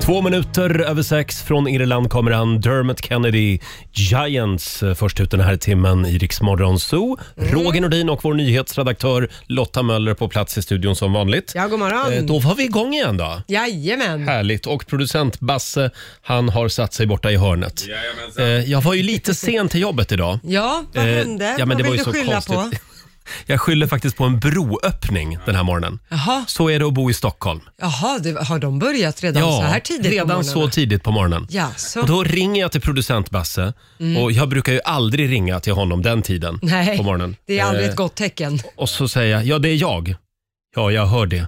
Två minuter över sex från Irland kommer han, Dermot Kennedy, Giants, eh, först ut den här timmen i Riksmorgon Zoo. Mm. Roger Nordin och vår nyhetsredaktör Lotta Möller på plats i studion som vanligt. Ja, god morgon. Eh, Då var vi igång igen då. Jajamän. Härligt. Och producent Basse, han har satt sig borta i hörnet. Eh, jag var ju lite sen till jobbet idag. Ja, vad Eh, hände? ja, men vad det vill var ju du så skylla konstigt. på? Jag skyller faktiskt på en broöppning den här morgonen. Jaha, Så är det att bo i Stockholm. Jaha det, har de börjat redan så här tidigt på redan morgnarna? så tidigt på morgonen. Jaså. Och då ringer jag till producent Basse och jag brukar ju aldrig ringa till honom den tiden Mm. Nej, på morgonen. det är aldrig Eh, ett gott tecken. Och så säger jag, ja det är jag. Ja, jag hör det.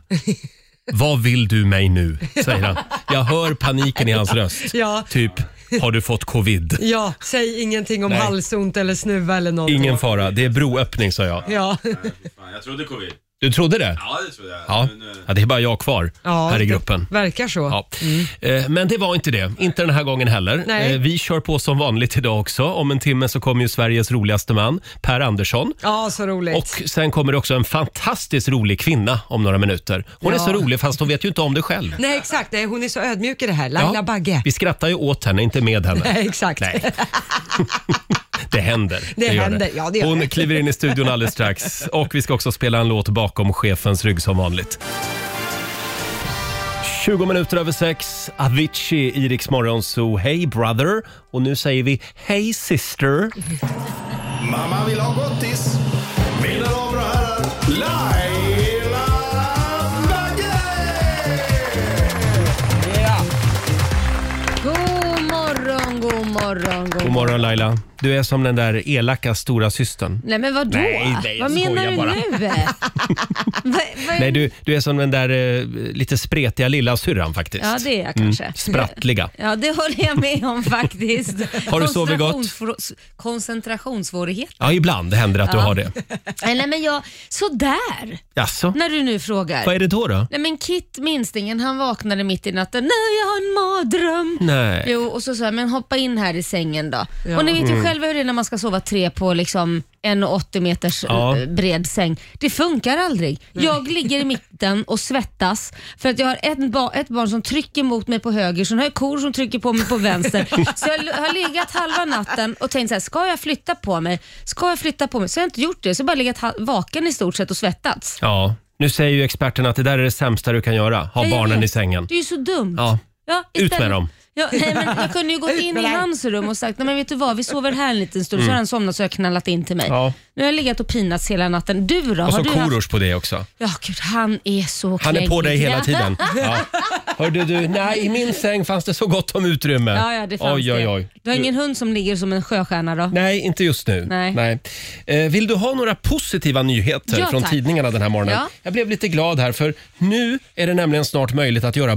Vad vill du mig nu? Säger han. Jag hör paniken i hans röst. Ja. Typ, har du fått covid? Ja, säg ingenting om Nej. halsont eller snuva eller någonting. Ingen fara, det är broöppning sa jag. Ja, Fan, jag trodde covid. Du trodde det? Ja, det trodde jag. Ja, Men, eh, ja det är bara jag kvar ja här i det gruppen. verkar så. Mm. Ja. Eh, Men det var inte det. Inte den här gången heller. Nej. Eh, Vi kör på som vanligt idag också. Om en timme så kommer ju Sveriges roligaste man, Per Andersson. Ja, så roligt. Och sen kommer det också en fantastiskt rolig kvinna om några minuter. Hon är Ja. så rolig fast hon vet ju inte om det själv. Nej, exakt. Nej, hon är så ödmjuk i det här. Laila Ja, Bagge. Vi skrattar ju åt henne, inte med henne. Nej, exakt. Nej. Det händer. Det gör händer, ja, det gör Hon det. kliver in i studion alldeles strax. Och vi ska också spela en låt bakom chefens rygg som vanligt. 20 minuter över sex, Avicii, Iriks morgonzoo. Hey brother! Och nu säger vi Hey sister! Mamma vill ha gottis. Mina damer och herrar, Laila Bagge! God morgon, god morgon, god morgon. God morgon Laila. Du är som den där elaka stora systern. Nej men vadå? Nej, nej, jag Vad menar skojar du bara. nu? vad, vad Nej, du, du är som den där eh, lite spretiga lilla syrran faktiskt. Mm, Ja det är jag kanske. Sprattliga. Ja det håller jag med om faktiskt. Har du sovit gott? Koncentrationsfrå- Koncentrationssvårighet. Ja, ibland händer det att du Ja. har det. Nej nej, men jag, sådär. Jaså? När du nu frågar. Alltså? Vad är det då då? Nej men Kit, minstingen, han vaknade mitt i natten. Nej jag har en mardröm. Nej. Mm. Jo, och så sa jag, men hoppa in här i sängen då. Och ni vet ju själva hur det är när man ska sova tre på liksom 1,80 meters Ja. eh, bred säng. Det funkar aldrig. Jag ligger i mitten och svettas för att jag har ett, ba- ett barn som trycker mot mig på höger, sen har jag kor som trycker på mig på vänster. så jag l- har legat halva natten och tänkt så här, ska jag flytta på mig? Ska jag flytta på mig? Så jag har inte gjort det, så jag har bara legat ha- vaken i stort sett och svettats. Ja, nu säger ju experterna att det där är det sämsta du kan göra. Ha Nej, jag barnen vet. i sängen. Det är ju så dumt. Ja. Ja, Ut istället- med dem. Ja, nej, men jag kunde ju gått Ut in med i dig. hans rum och sagt, nej men vet du vad, vi sover här en liten stund, så har han somnat så har jag knallat in till mig. Mm. Ja. Nu har jag legat och pinats hela natten. Du då? Och har så du Korosh på det också. Ja, gud, han är så Han är på knäggig. dig hela Ja. tiden. Ja. Hörde du, nej i min säng fanns det så gott om utrymme. Ja, ja, det fanns oj, oj, oj. det. Du har ingen hund som ligger som en sjöstjärna då? Nej, inte just nu. Nej. Eh, vill du ha några positiva nyheter Ja, från tack. tidningarna den här morgonen? Ja. Jag blev lite glad här för nu är det nämligen snart möjligt att göra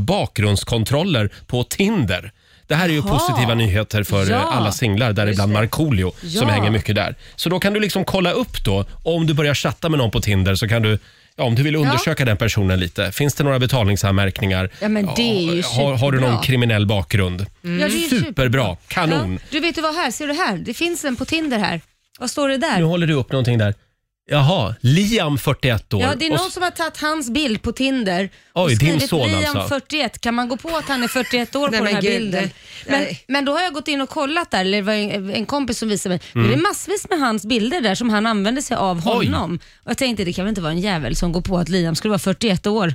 bakgrundskontroller på Tinder. Det här är ju positiva nyheter för Ja. eh, alla singlar, däribland Markoolio som Ja. hänger mycket där. Så då kan du liksom kolla upp då, om du börjar chatta med någon på Tinder så kan du Ja, om du vill undersöka den personen lite, finns det några betalningsanmärkningar? Ja, men det är ju har, har du någon superbra. Mm. kriminell bakgrund? Ja, det är ju Superbra, kanon! Ja. Du vet du vad här, ser du här? Det finns en på Tinder här. Vad står det Nu där? håller du upp någonting där. Jaha, Liam 41 år. Ja, det är Och någon s- som har tagit hans bild på Tinder och Oj, din skrivit son Liam alltså. 41. Kan man gå på att han är 41 år Nej, på den men här gud, bilden? nej. Men, men då har jag gått in och kollat där, eller det var en, en kompis som visade mig. Det är massvis med hans bilder där som han använde sig av Mm. Oj. honom. Och jag tänkte det kan väl inte vara en jävel som går på att Liam skulle vara 41 år.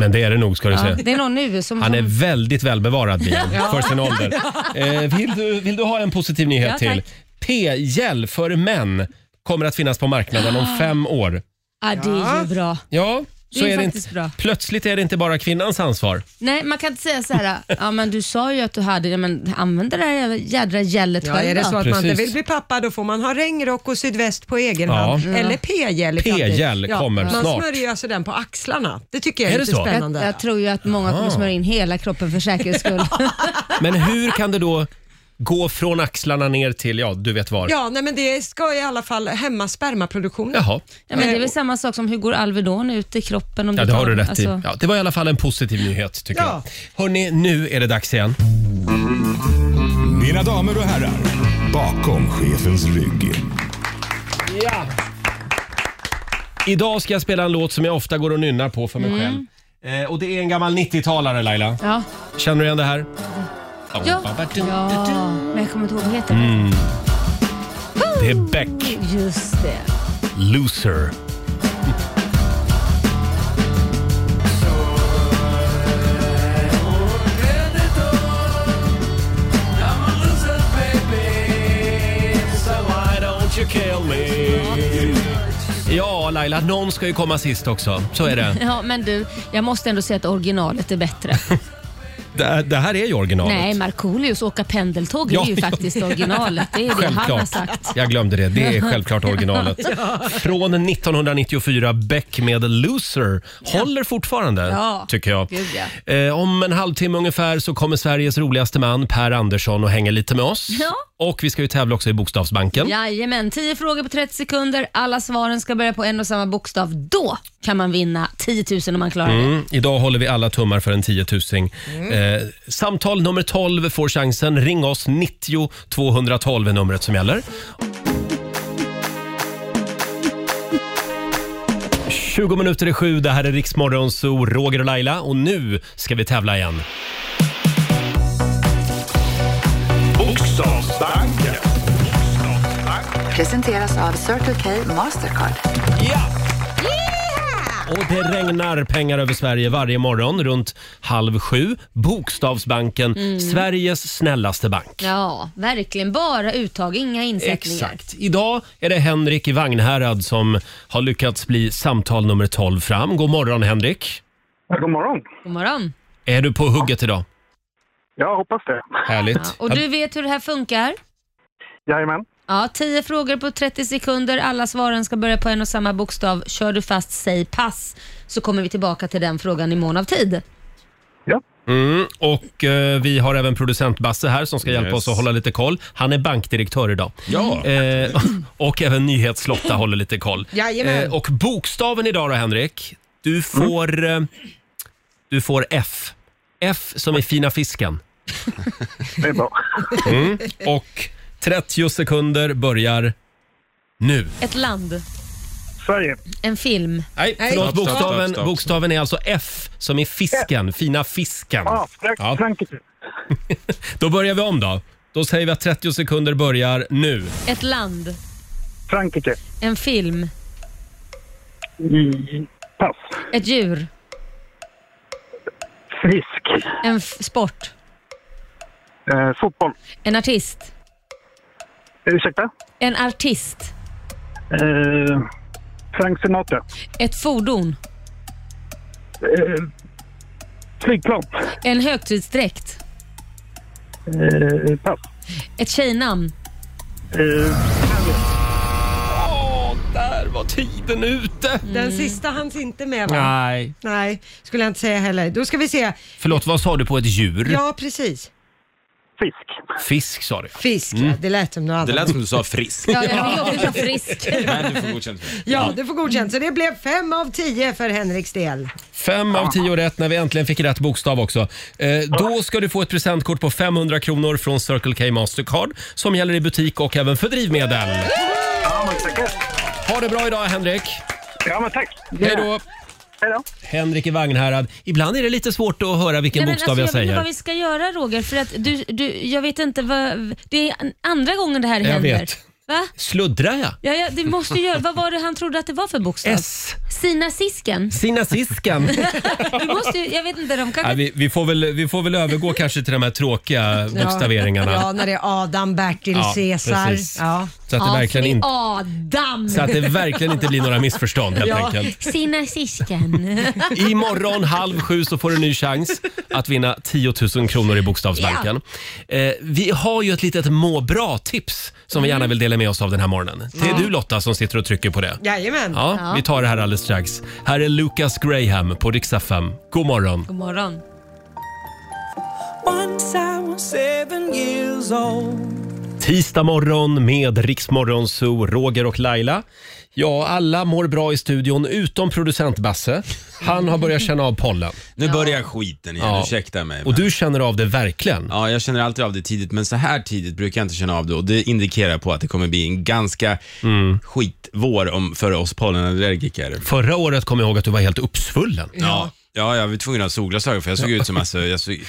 Men det är det nog ska du Ja, se. det är någon nu som... Han är som- väldigt välbevarad Liam, för sin ålder. Eh, vill, du, vill du ha en positiv nyhet Ja, till? tack. P-gel för män kommer att finnas på marknaden om fem år. ja, det är ju bra. Ja, Det så är är det faktiskt inte. bra. Plötsligt är det inte bara kvinnans ansvar. Nej, man kan inte säga så här. ja men du sa ju att du hade, ja, men använd det där jädra gället Ja, är det så att man inte Precis. vill bli pappa då får man ha regnrock och sydväst på egen Ja. hand. Ja. Eller p-gel. i framtiden. P-gel kommer man snart. smörjer ju alltså den på axlarna. Det tycker jag är, Är det lite så? Ah. spännande. Jag, jag tror ju att många kommer smörja in hela kroppen för säkerhets skull. Men hur kan det då gå från axlarna ner till, ja du vet var? Ja, nej, men det ska i alla fall hämma spermaproduktionen. Eh, Jaha. Ja, men det är väl samma sak som hur går Alvedon ut i kroppen? Om Ja, det tar- har du rätt i. alltså- Ja, det var i alla fall en positiv nyhet tycker Ja. jag. Hörni, nu är det dags igen. Mina damer och herrar, bakom chefens rygg. Idag ska jag spela en låt som jag ofta går och nynnar på för mig själv. Eh, och det är en gammal 90-talare Laila. Mm. Ja. Känner du igen det här? Ja. ja, men jag kommer inte ihåg vad heter. Mm. Det är Beck, Just det. Loser. Ja, Laila, någon ska ju komma sist också. Så är det. Ja, men du, jag måste ändå säga att originalet är bättre. Det, det här är ju originalet. Nej, Markoolios åka pendeltåg Ja, är ju ja. faktiskt originalet. Det är det han har sagt. Jag glömde det. Det är självklart originalet. Från 1994, Beck med Loser. Håller fortfarande, Ja. tycker jag. Gud, Eh, om en halvtimme ungefär så kommer Sveriges roligaste man, Per Andersson, och hänger lite med oss. Ja. Och vi ska ju tävla också i Bokstavsbanken. Jajamän, 10 frågor på 30 sekunder. Alla svaren ska börja på en och samma bokstav. Då kan man vinna 10 000 om man klarar det. Mm, idag håller vi alla tummar för en tiotusing. Eh, samtal nummer 12 får chansen. Ring oss, 90 212 är numret som gäller. 20 minuter i sju, det här är Riksmorgon Zoo, Roger och Laila och nu ska vi tävla igen. Bokstavsbanken. Presenteras av Circle K Mastercard. Och det regnar pengar över Sverige varje morgon runt halv sju. Bokstavsbanken, Sveriges snällaste bank. Ja, verkligen. Bara uttag, inga insättningar. Exakt. Idag är det Henrik i Vagnhärad som har lyckats bli samtal nummer 12 fram. God morgon Henrik. God morgon. God morgon. Är du på hugget idag? Jag hoppas det. Härligt. Och du vet hur det här funkar? Jajamän. Ja, 10 frågor på 30 sekunder. Alla svaren ska börja på en och samma bokstav. Kör du fast, säg pass. Så kommer vi tillbaka till den frågan i mån av tid. Ja. Mm, och eh, vi har även producent Basse här som ska hjälpa Yes. oss att hålla lite koll. Han är bankdirektör idag. Ja. Eh, och även Nyhetslotta håller lite koll. Eh, Jajamän. och bokstaven idag då Henrik. Mm. Du får, eh, du får F. F som i fina fisken. Mm. Det är bra. Och 30 sekunder börjar nu. Ett land, Sverige. en film. Nej, förlåt. Stopp, stopp, stopp, Bokstaven, stopp. bokstaven är alltså F som i fisken. Fina fisken. Ah, Frank- Ja. Frankrike. Då börjar vi om då. Då säger vi att 30 sekunder börjar nu. Ett land, Frankrike. en film, I... Pass. ett djur, Frisk. en f- sport, Eh, fotboll. en artist, Ursäkta? en artist, Eh, Frank Sinatra. ett fordon, Eh, flygplan. en högtidsdräkt, Eh, pass. ett tjejnamn, Eh, Åh, där var tiden ute! Mm. Den sista hanns inte med va? Nej. Nej, skulle jag inte säga heller. Då ska vi se. Förlåt, vad sa du på ett djur? Ja, precis. fisk. Fisk sa du. Fisk, Mm. ja. det lät som något annat. Det lät som du sa frisk. ja, jag vill också vara frisk. Men du får godkänt för det. Ja, det får godkänt. Så det blev fem av tio för Henriks del. Fem av tio rätt när vi äntligen fick rätt bokstav också. Eh, då ska du få ett presentkort på 500 kronor från Circle K Mastercard som gäller i butik och även för drivmedel. Ja, men tackar. Ha det bra idag Henrik! Ja, men tack. Hej då! Hej då. Henrik i Vagnhärad. Ibland är det lite svårt att höra vilken Nej, men bokstav alltså, jag vet inte säger. vad vi ska göra Roger, för att du, du, jag vet inte vad... Det är an- andra gången det här Jag händer. vet. Va? Sluddrar jag? Ja, ja, det måste ju göra. Vad var det han trodde att det var för bokstav? S. Sina sisken? Sinasiskan. Du måste ju, jag vet inte, de kanske... Nej, vi, vi, får väl, vi får väl övergå kanske till de här tråkiga bokstaveringarna. Ja, när det är Adam, Bertil, Ja, Caesar. precis. Ja. Så, att det Ja, verkligen för det är inte, Adam! så att det verkligen inte blir några missförstånd helt Ja. enkelt. Sina sisken. Imorgon halv sju så får du en ny chans att vinna 10 000 kronor i Bokstavsbanken. Eh, vi har ju ett litet må bra-tips som vi gärna Mm. vill dela med oss av den här morgonen. Det är du Lotta som sitter och trycker på det. Jajamän. Ja, vi tar det här alldeles strax. Här är Lucas Graham på Rix FM. God morgon. God morgon. Tisdag morgon med Riksmorgon Zoo, Roger och Laila. Ja, alla mår bra i studion utom producent Basse. Han har börjat känna av pollen. Nu börjar skiten igen, Ja. ursäkta mig. Och men- du känner av det verkligen. Ja, jag känner alltid av det tidigt, men så här tidigt brukar jag inte känna av det och det indikerar på att det kommer bli en ganska Mm. skitvår om, för oss pollenallergiker. Förra året kom jag ihåg att du var helt uppsvullen. Ja. ja, jag var tvungen att ha solglasögon för jag såg ut som alltså, jag såg,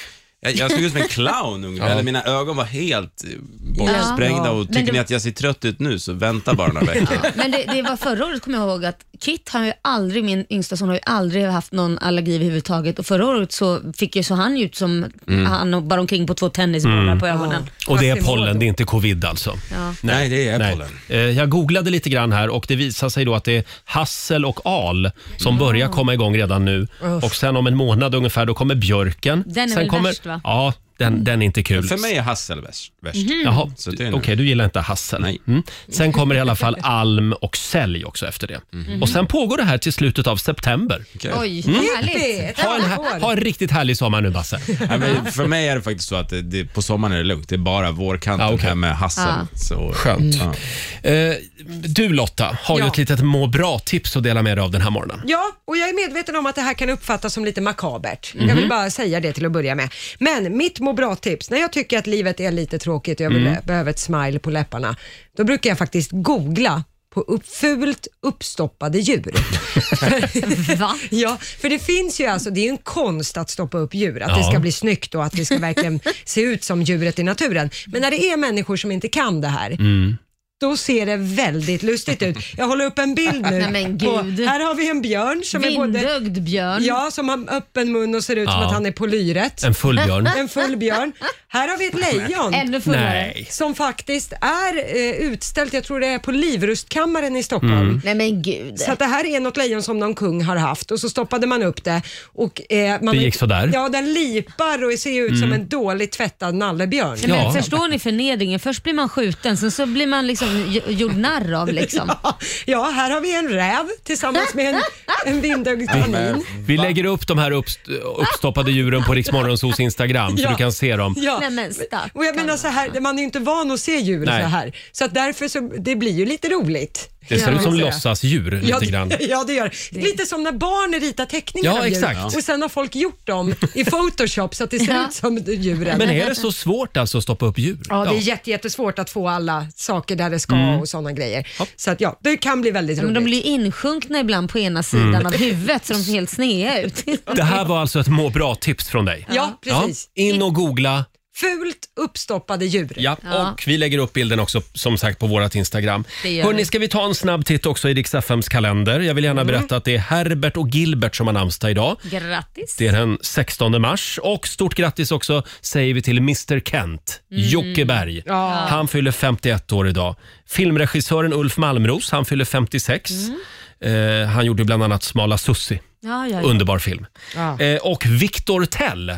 jag, jag såg ut som en clown ungefär. Eller Mina ögon var helt eh, bortsprängda Ja. och Men tycker det- ni att jag ser trött ut nu så vänta bara några veckor. Men det, det var förra året kommer jag ihåg att Kit, han har ju aldrig, min yngsta son har ju aldrig haft någon allergi överhuvudtaget och förra året så fick ju så han ju ut som han bara omkring på två tennisbollar på ögonen. Mm. Och det är pollen, det är inte covid alltså. Mm. Nej, det är Nej. pollen. Eh, Jag googlade lite grann här och det visar sig då att det är hassel och al som börjar komma igång redan nu. Och sen om en månad ungefär då kommer björken. Den är sen väl kommer... värst, va? Mm. Mhm. Ja, den, den är inte kul. För mig är hassel värst. värst. Jaha, Så det är okej nu. du gillar inte hassel. Nej. Mm. Sen kommer i alla fall alm och sälj också efter det. Och sen pågår det här till slutet av september. Mhm. Mm. Okej. Oj, Jippi, härligt. ett Ha en, annat ha, år. ha en riktigt härlig sommar nu Basse. Nej, men för mig är det faktiskt så att det, det, på sommaren är det lugnt. Det är bara vårkanten Ja, okej. här med hassel. Ja. Så, Skönt. Ja. Eh, du Lotta har ju Ja. ett litet må bra-tips att dela med dig av den här morgonen. Ja, och jag är medveten om att det här kan uppfattas som lite makabert. Jag vill bara säga det till att börja med. Men mitt må bra-tips, när jag tycker att livet är lite tråkigt och jag vill, behöver ett smile på läpparna, då brukar jag faktiskt googla på upp, fult uppstoppade djur. Va? Ja, för det finns ju alltså, det är ju en konst att stoppa upp djur, att det Ja. ska bli snyggt och att det ska verkligen se ut som djuret i naturen. Men när det är människor som inte kan det här, Mm. Då ser det väldigt lustigt ut. Jag håller upp en bild nu. Nej, men på- gud. här har vi en björn som är både Vindögd björn. Ja, som har öppen mun och ser ut som Ja. att han är på lyret. En full björn. En full björn. Här har vi ett lejon Ännu fullare. Nej. Nej. som faktiskt är eh, utställt, jag tror det är på Livrustkammaren i Stockholm. Mm. men gud. Så att det här är något lejon som någon kung har haft och så stoppade man upp det. Och, eh, man Det gick Mm. sådär. Ja, den lipar och ser ut som en dåligt tvättad nallebjörn. Nej, men Ja. Förstår ni förnedringen? Först blir man skjuten, sen så blir man liksom j- gjord narr av. Liksom. Ja, här har vi en räv tillsammans med en, en vindögd kanin. Vi lägger upp de här uppst uppstoppade djuren på Riksmorgonsos Instagram så Ja. du kan se dem. Ja. Nej, men stackarn. Och jag menar så här, man är ju inte van att se djur Nej. så här. Så att därför så, det blir ju lite roligt. Det ser kan ut som man säga. låtsasdjur Ja, lite grann. det- ja, det gör det. Lite som när barn ritar teckningar Ja, av djur. exakt. Och sen har folk gjort dem i Photoshop så att det ser ut som djuren. Men är det så svårt alltså att stoppa upp djur? Ja, det är jätte, jättesvårt att få alla saker där det ska Mm. och sådana grejer. Så att ja, det kan bli väldigt Men roligt. de blir ju insjunkna ibland på ena sidan av huvudet så de ser helt sneda ut. Mm. Det här var alltså ett må bra-tips från dig. Ja, precis. Ja, in och googla. Fult uppstoppade djur. Ja, Ja. och vi lägger upp bilden också som sagt på vårt Instagram. Det gör vi. Mm. Hörni, ska vi ta en snabb titt också i Rix FMs kalender? Jag vill gärna berätta att det är Herbert och Gilbert som har namnsdag idag. Grattis. Det är den 16 mars och stort grattis också säger vi till Mr Kent, Mm. Jocke Berg. Han fyller 51 år idag. Filmregissören Ulf Malmros, han fyller 56. Eh, han gjorde bland annat Smala Sussi, Mm. Ja, ja, ja. Mm. underbar film. Eh, och Victor Tell,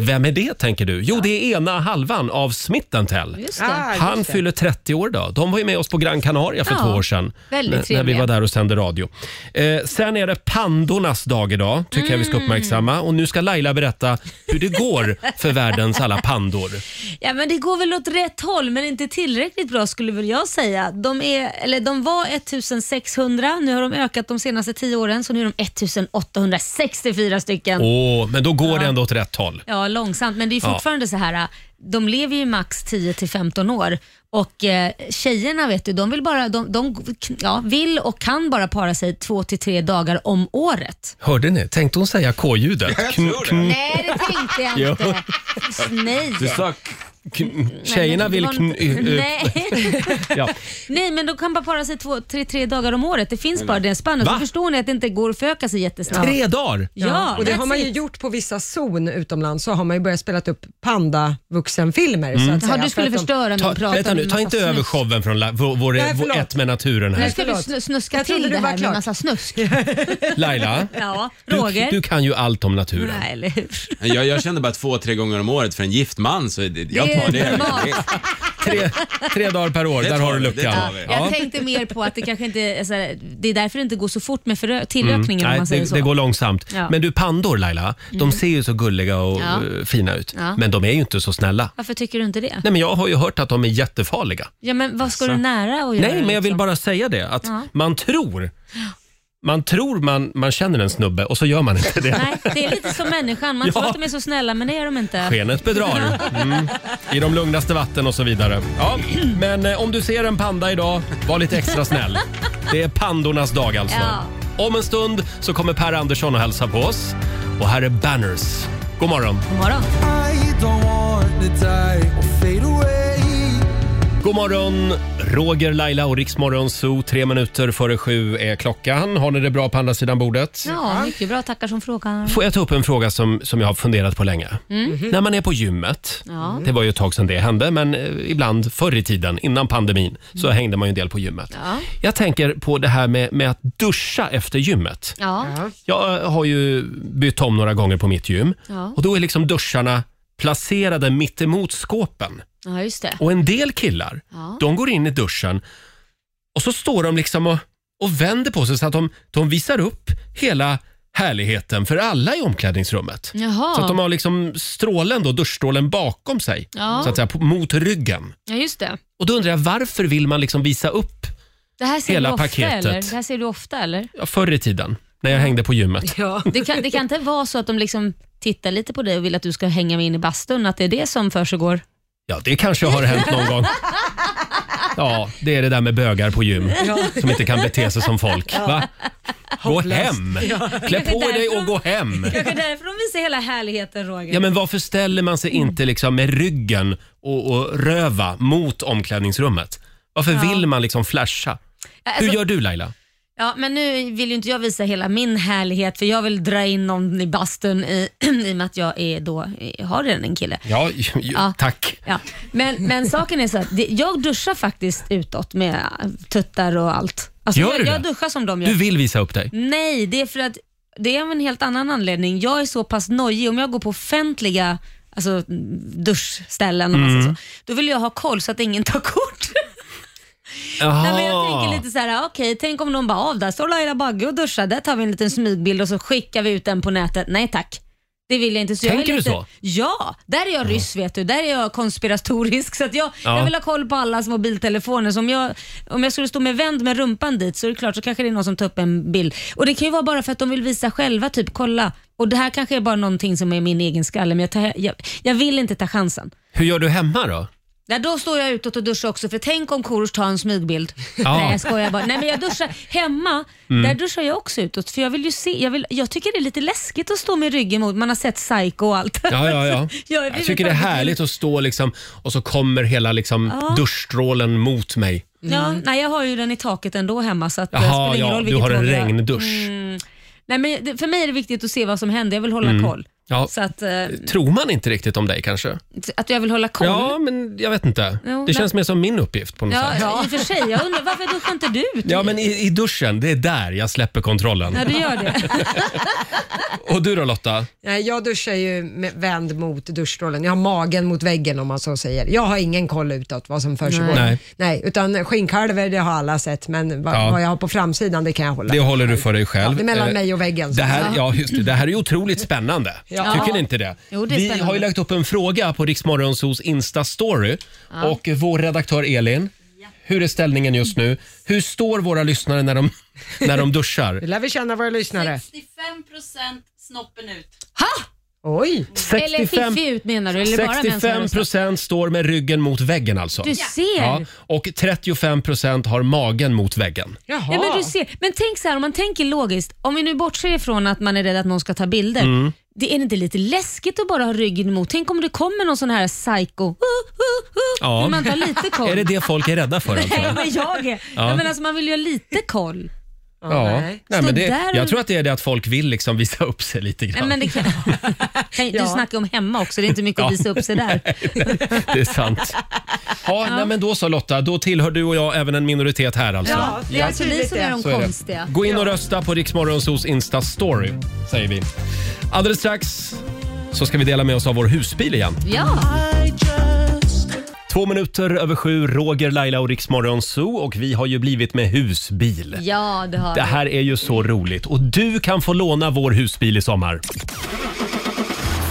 vem är det tänker du? Jo, det är ena halvan av Smitten Tell. Just det. Ah, Han just det. fyller 30 år idag. De var ju med oss på Gran Canaria för Ja, två år sedan. väldigt när- När vi trevliga. var där och sände radio. Eh, sen är det pandornas dag idag, tycker jag vi Mm. ska uppmärksamma. Och nu ska Laila berätta hur det går för världens alla pandor. Ja, men det går väl åt rätt håll, men inte tillräckligt bra skulle väl jag säga. De, är, eller de var 1600, nu har de ökat de senaste 10 åren, så nu är de 1864 stycken. Åh, men då går det ändå åt rätt håll. Ja, långsamt. Men det är Ja. fortfarande så här, äh, de lever ju max 10 till 15 år och eh, tjejerna vet du, de vill, bara, de, de, ja, vill och kan bara para sig två till tre dagar om året. Hörde ni? Tänkte hon säga K-ljudet? Jag tror det. Mm. Nej, det tänkte jag Ja. inte. Nej. Du sa k- Kn- Nej, Tjejerna men det vill... var Kn- inte- eh, eh, Nej. ja. Nej, men de kan bara para sig två, tre, tre dagar om året. Det finns bara det spannet. Va? Så förstår ni att det inte går att föröka sig jättesnabbt. Tre dagar? Ja, och det that's har man ju it. gjort på vissa zon utomlands, så har man ju börjat spela upp panda-vuxenfilmer. så att Jaha, säga, du för skulle att de- förstöra min Mm. Ta, prat. vänta nu, ta inte över showen från la, vår, vår, Nej, vår förlåt. Ett med naturen Nu här. ska vi förlåt. snu- snuska Jag trodde till du det var här med klar. massa snusk. Laila, Ja, du, Roger. du kan ju allt om naturen. Nej, eller hur? jag, jag kände bara två, tre gånger om året för en gift man så det, jag tar det. normalt. det. tre, tre dagar per år, Det där tar har du vi, det luckan. tar vi. Jag tänkte mer på att det kanske inte är så här, det är därför det inte går så fort med förö- tillökningen om Mm. Nej, man säger det, så. det går långsamt. Ja. Mm. Men du, pandor Laila, de ser ju så gulliga och Ja. eh, fina ut. Ja. Men de är ju inte så snälla. Varför tycker du inte det? Nej, men jag har ju hört att de är jättefarliga. Ja, men vad ska du nära och göra? Nej, men jag vill liksom? bara säga det att man tror man tror man, man känner en snubbe och så gör man inte det. Nej, det är lite som människan. Man tror Ja. att de är så snälla, men det är de inte. Skenet bedrar. Mm. I de lugnaste vatten och så vidare. Ja, men eh, om du ser en panda idag, var lite extra snäll. Det är pandornas dag alltså. Om en stund så kommer Per Andersson och hälsa på oss. Och här är Banners. God morgon. God morgon. God morgon, Roger, Laila och Riksmorgon Zoo. Tre minuter före sju är klockan. Har ni det bra på andra sidan bordet? Ja, mycket bra. Tackar som frågar. Får jag ta upp en fråga som, som jag har funderat på länge? När man är på gymmet, Mm. Ja. det var ju ett tag sedan det hände, men eh, ibland förr i tiden, innan pandemin, så hängde man ju en del på gymmet. Mm. Ja. Jag tänker på det här med, med att duscha efter gymmet. Ja. Jag eh, har ju bytt om några gånger på mitt gym Ja. och då är liksom duscharna placerade mitt emot skåpen. ja, just det. Och en del killar, Ja. de går in i duschen och så står de liksom och, och vänder på sig så att de, de visar upp hela härligheten för alla i omklädningsrummet. Jaha. Så att de har liksom strålen då, duschstrålen bakom sig, Ja. så att säga, på- mot ryggen. Ja, just det. Och då undrar jag, varför vill man liksom visa upp Det här ser Hela du ofta, paketet. eller? Det här ser du ofta, eller? ja, förr i tiden, när jag hängde på gymmet? Ja. Det kan, det kan inte vara så att de liksom tittar lite på dig och vill att du ska hänga med in i bastun, att det är det som försiggår. Ja, det kanske har hänt någon gång. Ja, det är det där med bögar på gym som inte kan bete sig som folk. Va? Gå hem! Klä på dig och gå hem! Kanske därför de visar hela härligheten, Roger. Ja, men varför ställer man sig inte liksom med ryggen och, och röva mot omklädningsrummet? Varför vill man liksom flasha? Hur Alltså- gör du Laila? Ja, men nu vill ju inte jag visa hela min härlighet för jag vill dra in någon i bastun i, i och med att jag är då, har redan en kille. Ja, ja. tack. Ja. Men, men saken är så att det, jag duschar faktiskt utåt med tuttar och allt. Alltså, Gör jag, du jag det? duschar som de gör. Du vill visa upp dig. Nej, det är för att det är av en helt annan anledning. Jag är så pass nojig, om jag går på offentliga alltså, duschställen, om man Mm. säger så, då vill jag ha koll så att ingen tar kort. Nej, men jag tänker lite så här, okej, tänk om någon bara, av där står Laila Bagge och duschar, där tar vi en liten smygbild och så skickar vi ut den på nätet. Nej tack. Det vill jag inte. Så jag Tänker vill du inte... så? Ja, där är jag ryss vet du. Där är jag konspiratorisk. Så att jag, Ja. jag vill ha koll på allas mobiltelefoner. Så om, jag, om jag skulle stå med vänd med rumpan dit så är det klart så kanske det är någon som tar upp en bild. Och Det kan ju vara bara för att de vill visa själva, typ kolla. Och Det här kanske är bara någonting som är min egen skalle, men jag, tar, jag, jag vill inte ta chansen. Hur gör du hemma då? Ja, då står jag utåt och duschar också för tänk om Korosh tar en smygbild. Ja. Mm. Nej jag skojar bara. Nej men jag duschar hemma, där duschar jag också utåt för jag vill ju se, jag, vill, jag tycker det är lite läskigt att stå med ryggen mot, man har sett Psycho och allt. Ja, ja, ja. Jag är Jag tycker det är härligt att stå liksom, och så kommer hela liksom, duschstrålen mot mig. Ja, nej jag har ju den i taket ändå hemma så att det Jaha, spelar ingen ja, roll du vilket har en håll jag- Mm. regndusch. Nej men det, för mig är det viktigt att se vad som händer, jag vill Mm. hålla koll. Ja. Så att, eh, Tror man inte riktigt om dig kanske? att jag vill hålla koll. Ja, men jag vet inte. Jo, det men- känns mer som min uppgift på något Ja, sätt. i och för sig. Jag undrar varför duschar inte du ut? Ja, men i, i duschen, det är där jag släpper kontrollen. Ja, du gör det. Och du då Lotta? Nej, jag duschar ju med, vänd mot duschstrålen. Jag har magen mot väggen om man så säger. Jag har ingen koll utåt vad som försiggår. Nej. Nej. utan skinnkalvar det har alla sett, men vad, Ja. vad jag har på framsidan det kan jag hålla. Det håller du för dig själv. Ja, det är mellan Eh, mig och väggen, så. Det här, ja, just det, det här är ju otroligt spännande. Ja. Tycker ni inte det? Jo, det är Vi spännande. har ju lagt upp en fråga på Riksmorgonsos Insta-story. Och vår redaktör Elin, hur är ställningen just nu? Hur står våra lyssnare när de, när de duschar? Det lär vi känna våra lyssnare. 65% snoppen ut. Oj! Eller fiffig ut menar du? Eller bara män som har 65 röstat? procent står med ryggen mot väggen alltså. Du ser! Ja, Ja. och 35 procent har magen mot väggen. Jaha. men, du ser. men tänk så här, om man tänker logiskt. Om vi nu bortser ifrån att man är rädd att någon ska ta bilder. Mm. Det är inte lite läskigt att bara ha ryggen mot? Tänk om det kommer någon sån här psycho. Uh, uh, uh, Ja. Vill man inte ha lite koll? Är det det folk är rädda för alltså? Nej, men jag är. Ja. Ja. Men alltså, man vill ju ha lite koll. Ja. nej. Nej, men Så det, där- jag tror att det är det att folk vill liksom visa upp sig lite Nej, grann. men det kan... Tänk, Du snackar om hemma också, det är inte mycket Ja. att visa upp sig där. Det är sant. Ja, Nej, men då så Lotta, då tillhör du och jag även en minoritet här alltså. Ja, det är alltså vi som är de Så är det. konstiga. Gå in och rösta på Riksmorgonsos Insta-story, säger vi. Alldeles strax så ska vi dela med oss av vår husbil igen. Ja. Två minuter över sju, Roger, Laila och Riksmorgon Zoo och vi har ju blivit med husbil. Ja, det har Det jag. här är ju så roligt och du kan få låna vår husbil i sommar.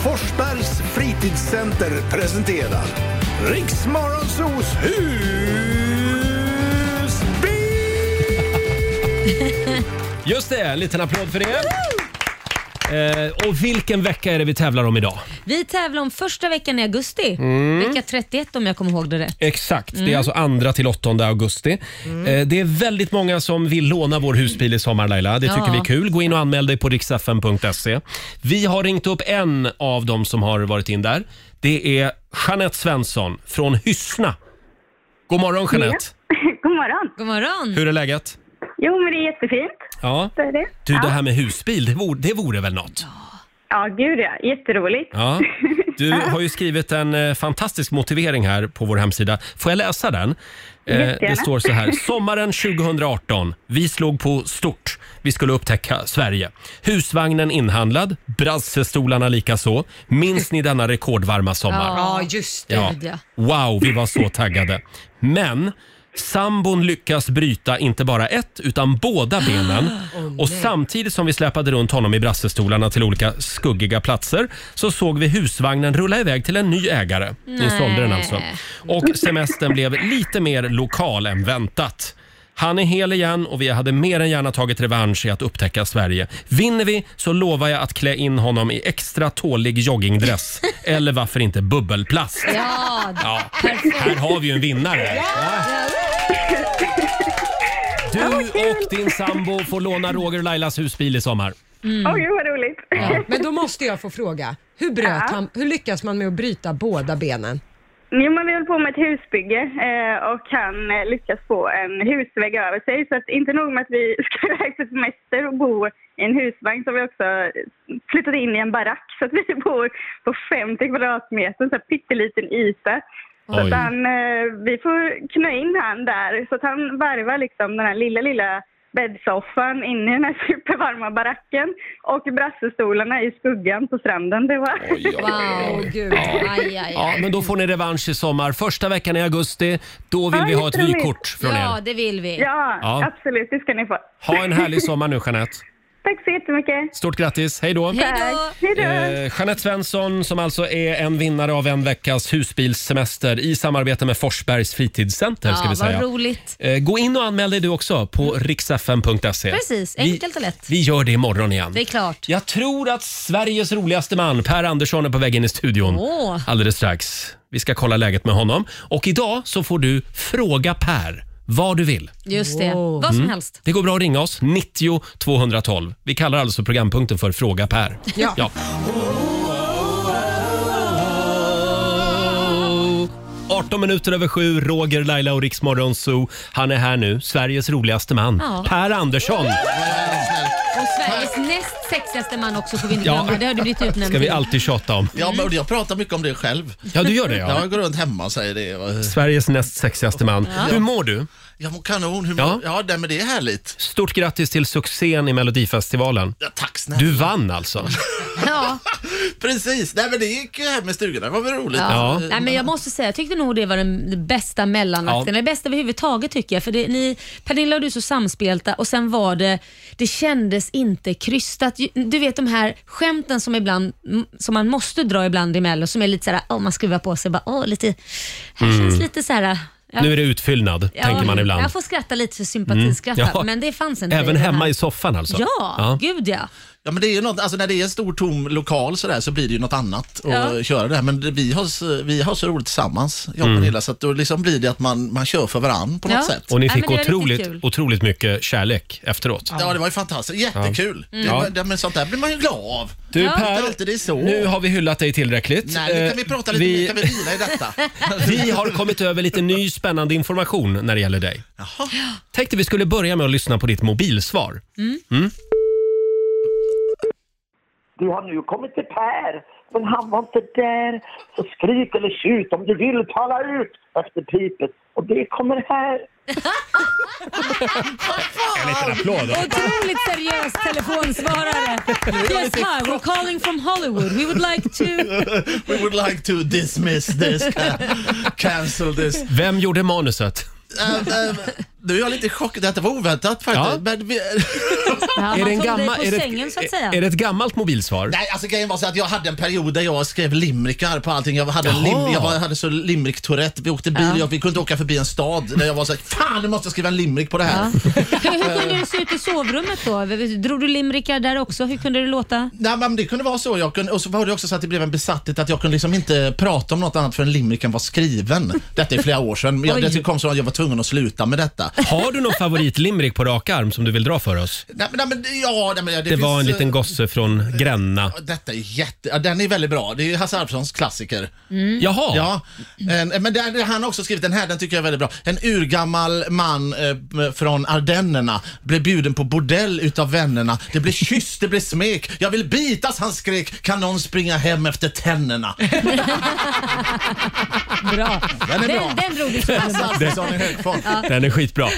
Forsbergs fritidscenter presenterar Riksmorgonsos husbil! Just det, en liten applåd för det. Eh, och vilken vecka är det vi tävlar om idag? Vi tävlar om första veckan i augusti. Mm. Vecka 31 om jag kommer ihåg det rätt. Exakt, det är alltså andra till 8 augusti. Eh, det är väldigt många som vill låna vår husbil i sommar Laila. Det tycker Ja. vi är kul. Gå in och anmäl dig på riksfn.se. Vi har ringt upp en av dem som har varit in där. Det är Jeanette Svensson från Hyssna. God morgon Jeanette! God morgon. God morgon! Hur är läget? Jo, men det är jättefint. Ja. Det är det. Du, det här med husbil, det vore, det vore väl något? Ja, gud ja. Jätteroligt. Ja. Du har ju skrivit en eh, fantastisk motivering här på vår hemsida. Får jag läsa den? Eh, Jättegärna. det står så här. Sommaren 2018. Vi slog på stort. Vi skulle upptäcka Sverige. Husvagnen inhandlad, brassestolarna likaså. Minns ni denna rekordvarma sommar? Ja, just det. Ja. gud, ja. Wow, vi var så taggade. Men sambon lyckas bryta inte bara ett, utan båda benen. och samtidigt som vi släpade runt honom i brassestolarna till olika skuggiga platser så såg vi husvagnen rulla iväg till en ny ägare. Ni sålde den alltså. Och semestern blev lite mer lokal än väntat. Han är hel igen och vi hade mer än gärna tagit revansch i att upptäcka Sverige. Vinner vi så lovar jag att klä in honom i extra tålig joggingdress. Eller varför inte bubbelplast? Ja, Ja, här har vi ju en vinnare. Ja. Du och din sambo får låna Roger och Lailas husbil i sommar. Oj, vad roligt. Mm. Men då måste jag få fråga, hur, bröt han, hur lyckas man med att bryta båda benen? Jo, men vi höll på med ett husbygge eh, och han eh, lyckas få en husvägg över sig. Så att inte nog med att vi ska iväg på semester och bo i en husvagn så har vi också flyttat in i en barack. Så att vi bor på 50 kvadratmeter, så här pytteliten yta. Så Oj. att han, eh, vi får knö in han där så att han varvar liksom den här lilla, lilla bäddsoffan in i den här supervarma baracken och brassestolarna i skuggan på stranden. Det var... wow. gud. Aj, aj, Ja, aj. men då får ni revansch i sommar. Första veckan i augusti, då vill Ja, vi ha ett jätteroligt. vykort från Ja, er. det vill vi. Ja, Ja. absolut. Det ska ni få. Ha en härlig sommar nu Jeanette. Tack så jättemycket. Stort grattis, hej då! Hej Tack. då! Hej då. Eh, Jeanette Svensson som alltså är en vinnare av en veckas husbilssemester i samarbete med Forsbergs fritidscenter ska Ja, vi säga. vad roligt. Eh, Gå in och anmäl dig du också på riksfn.se. Precis, Vi- enkelt och lätt. Vi gör det imorgon igen. Det är klart. Jag tror att Sveriges roligaste man, Per Andersson, är på väg in i studion Åh. alldeles strax. Vi ska kolla läget med honom. Och idag så får du fråga Per vad du vill. Just det. Vad som helst. Mm. Det går bra att ringa oss, 90 212. Vi kallar alltså programpunkten för Fråga Per. Ja. Oh. 18 minuter över sju, Roger, Laila och Riksmorgon Zoo. Han är här nu, Sveriges roligaste man, Ja. Per Andersson. Och Sveriges näst sexigaste man också får vi inte Ja. glömma. Det har du blivit utnämnd ska vi till. alltid tjata om. Ja, men jag pratar mycket om det själv. Ja, du gör det ja. Jag går runt hemma och säger det. Sveriges näst sexigaste man. Hur mår du? Jag mår kanon. Hur Ja. mår... Ja, ja men det är härligt. Stort grattis till succén i Melodifestivalen. Ja, tack snälla. Du vann alltså. Ja. Precis. Nej, men det gick ju här med stugorna. Det var väl roligt. Ja. Ja. Nej, men jag måste säga, jag tyckte nog det var den bästa mellanakten. Ja. Det bästa överhuvudtaget tycker jag. För det, ni, Pernilla och du är så samspelta och sen var det, det kändes inte krystat. Ju- Du vet de här skämten som, ibland, m- som man måste dra ibland i Mello, som är lite såhär, oh, man skruvar på sig bara, åh, lite, här känns lite såhär. Ja, Mm. Nu är det utfyllnad, ja, tänker man ibland. Mm. Jag får skratta lite för sympatiskratta, Ja. men det fanns inte. Även i den hemma här. i soffan alltså? Ja, gud ja. Ja, men det är ju något, alltså när det är en stor tom lokal så, där, så blir det ju något annat att Ja. köra där. Men det- vi har, s- vi har så roligt tillsammans, jag och Pernilla, så att då liksom blir det att man, man kör för varann på något Ja. sätt. Mm. Och ni Nej, fick men det var riktigt otroligt, kul. otroligt mycket kärlek efteråt. Ja, det var ju fantastiskt. Jättekul. Det, Ja. var- det, men sånt där blir man ju glad av. Du Mm. Ja. Inte Per, alltid det är så. nu har vi hyllat dig tillräckligt. Nej, nu kan vi Eh, prata lite vi- mer. Kan vi vila i detta? Vi har kommit över lite ny spännande information när det gäller dig. Jaha. Tänkte vi skulle börja med att lyssna på ditt mobilsvar. Mm? Du har nu kommit till Per, men han var inte där. Så skrik eller tjut om du vill, tala ut efter pipet. Och det kommer här. En liten applåd. Otroligt seriös telefonsvarare. Yes, hi, we're calling from Hollywood. We would like to... We would like to dismiss this, ca- cancel this. Vem gjorde manuset? Äh, äh, nu är jag lite chockad att det var oväntat faktiskt. Ja. Men vi, Ja, Är det en man får dig gammal- på är det- sängen så att säga. Är det ett gammalt mobilsvar? Nej, alltså grejen var så att jag hade en period där jag skrev limrikar på allting. Jag hade, en Jaha. lim, jag var- jag hade så limrik-tourette. Vi åkte bil, Ja. jag, vi kunde inte åka förbi en stad. Där jag var så här, fan nu måste jag skriva en limrik på det här. Ja. Hur, hur kunde du se ut i sovrummet då? Drog du limrikar där också? Hur kunde det låta? Nej, men det kunde vara så. Jag kunde, och så var det också så att det blev en besatthet att jag kunde liksom inte prata om något annat förrän limericken var skriven. Detta är flera år sedan. Men jag, Oj. det kom så att jag var tvungen att sluta med detta. Har du någon favoritlimrik på rak arm som du vill dra för oss? Nej, men, nej, men, ja, nej, men, det Det var en finns, liten gosse från Gränna. Detta är jätte... Ja, den är väldigt bra. Det är ju Hasse Alfredsons klassiker. Mm. Jaha, Ja, en, men där, han har också skrivit den här, den tycker jag är väldigt bra. En urgammal man eh, från Ardennerna blev bjuden på bordell utav vännerna. Det blev kyss, det blev smek. Jag vill bitas, han skrek. Kan någon springa hem efter tänderna? Bra. Den är bra. Den, den drog du i sovrummet. Hasse Alfredsson i hög form. den är skitbra. Eh,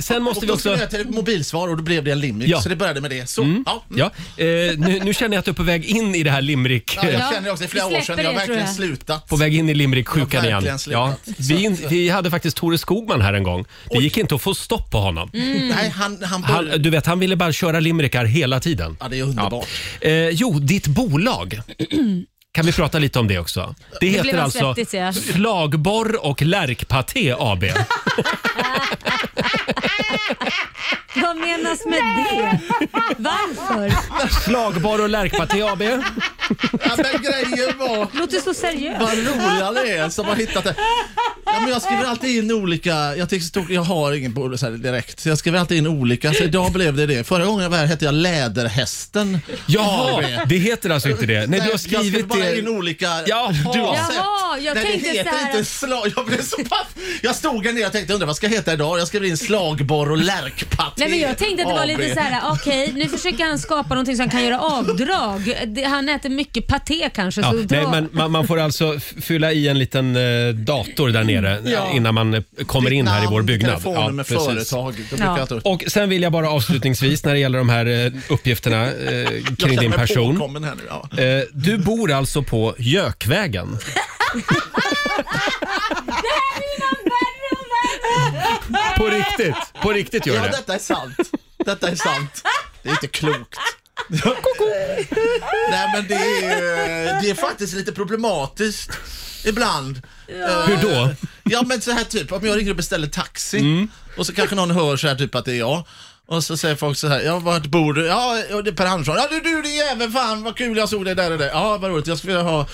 sen Och måste vi då skulle också... jag till ett mobilsvar och då blev det en limrik. Ja. Så det började med det. Så, ja. mm. Ja, eh, nu, nu känner jag att du är på väg in i det här limrik... Ja, Ja, jag känner också, det är flera vi år släpper sedan jag det, har tror verkligen jag. slutat. På väg in i limerick-sjukan Jag har igen. verkligen Ja, slutat. vi, vi hade faktiskt Tore Skogman här en gång. Det gick inte att få stopp på honom. Mm. Nej, han, Mm, han, Han, började- du vet, han ville bara köra limerickar hela tiden. Ja, det är underbart. Eh, jo, ditt bolag. Kan vi prata lite om det också? Det blev heter han alltså svettig, ser jag. Slagborr och Lärkpaté AB. Vad menas med det? Varför? Slagborr och Lärkpaté AB. Ja, men grejen var... Låter så seriöst. Vad roliga det är som har hittat det. Ja, men jag skriver alltid in olika, jag, tycker stort, jag har ingen bord så här direkt, så jag skriver alltid in olika. Så idag blev det det. Förra gången jag var här hette jag Läderhästen. Jaha, AB. det heter alltså inte det. Nej, du har jag skriver skrivit bara in det. olika... Jaha. Du har Jaha, sett. jag Nej, tänkte det heter så här- inte slag... Jag blev så paff. Jag stod här nere och tänkte, undrar vad ska jag heta idag? Jag skrev in slagborr och lärkpaté. Nej men jag tänkte att det var lite så här: okej nu försöker han skapa någonting så han kan göra avdrag. Det, han äter mycket paté kanske. Ja, så Alltså, dra- nej, men man, man får alltså f- fylla i en liten eh, dator där nere eh, Ja. innan man eh, kommer in här i vår byggnad. Telefonnummer, precis. företag. Då brukar Ja. jag ta upp. Och sen vill jag bara avslutningsvis när det gäller de här eh, uppgifterna eh, Jag kring känner din mig person. påkommen Här nu, ja. Eh, du bor alltså på Jökvägen. På riktigt, på riktigt gör Ja, det. detta är sant. Detta är sant. Det är inte klokt. Nej men det är, ju- det är faktiskt lite problematiskt ibland. Eh, Hur då? Mm. Ja men så här typ, om jag ringer och beställer taxi och så kanske någon hör så här typ att det är jag. Och så säger folk så här, ja vart bor du? Ja, och det är Per Andersson. Ja det är du din jävel, fan vad kul jag såg dig där och där. Ja vad roligt, jag skulle vilja ha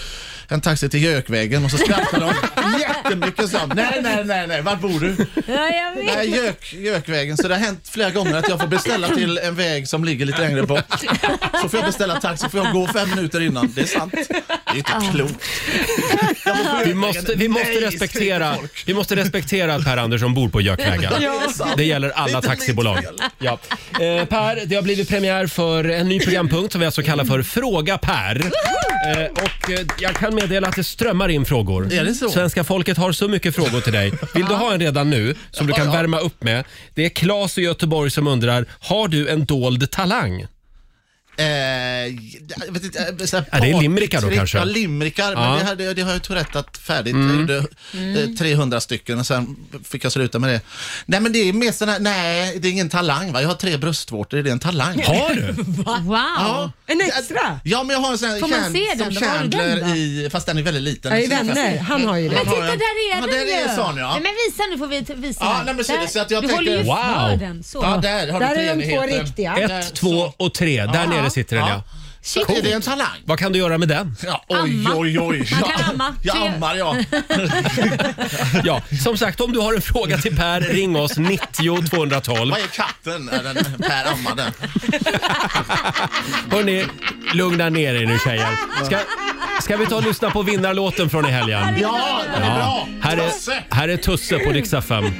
en taxi till Jökvägen och så skrattar de jättemycket så. Nej, nej, nej, nej, vart bor du? ja, jag vet. Nej, Jök, Jökvägen. Så det har hänt flera gånger att jag får beställa till en väg som ligger lite längre bort. Så får jag beställa taxi, får jag gå fem minuter innan. Det är sant. Det är Ah. inte klokt. Jag var på Vi Jökvägen. måste, vi måste, Nej, respektera, skriker folk. vi måste respektera att Per Andersson bor på Jökvägen. Det är sant. Det gäller Det är alla inte taxibolag. mitt fel. Ja. Eh, per, det har blivit premiär för en ny programpunkt som vi alltså kallar för Fråga Per. Eh, och eh, jag kan meddela att det strömmar in frågor. Är det så? Svenska folket har så mycket frågor till dig. Vill du ha en redan nu som du kan Ja, ja. värma upp med? Det är Claes i Göteborg som undrar, har du en dold talang? Eh, jag vet inte, eh, så här Ja, det är limerickar då partytrick. kanske? Ja, limrikar. Ja. Mm. Men det, här, det, det har jag tourettat färdigt. Jag gjorde eh, 300 stycken och sen fick jag sluta med det. Nej, men det är mer sån här, nej, det är ingen talang va? Jag har tre bröstvårtor, är det en talang? Har du? Wow. Ja. En extra? Ja, men jag har en sån här Får man Chan- se den? som Var har du den Chandler då? i, fast den är väldigt liten. Ja, i Den är fast- vänner. Han har ju det. Men titta har- där är ja, den där är ju. sån, ja. Nej, men visa nu får vi visa. Ja, nej, men så- Där. så att jag du tänker- håller ju för Wow. den. Så. Ja, där har Där du är de två treenheten. riktiga. Ett, två och tre. Där nere sitter den ja. Shit, är det en talang? Vad kan du göra med den? Ja, oj, Amma. oj, oj. Man kan Ja, amma. Jag Tre- ammar, ja. Ja, som sagt, om du har en fråga till Per, ring oss 90 212. Vad är katten? Är den Per ammade. Hörni, lugna ner er nu tjejer. Ska, ska vi ta och lyssna på vinnarlåten från i helgen? Ja, det är bra. Här är, Tasse. här är Tusse på Rix FM.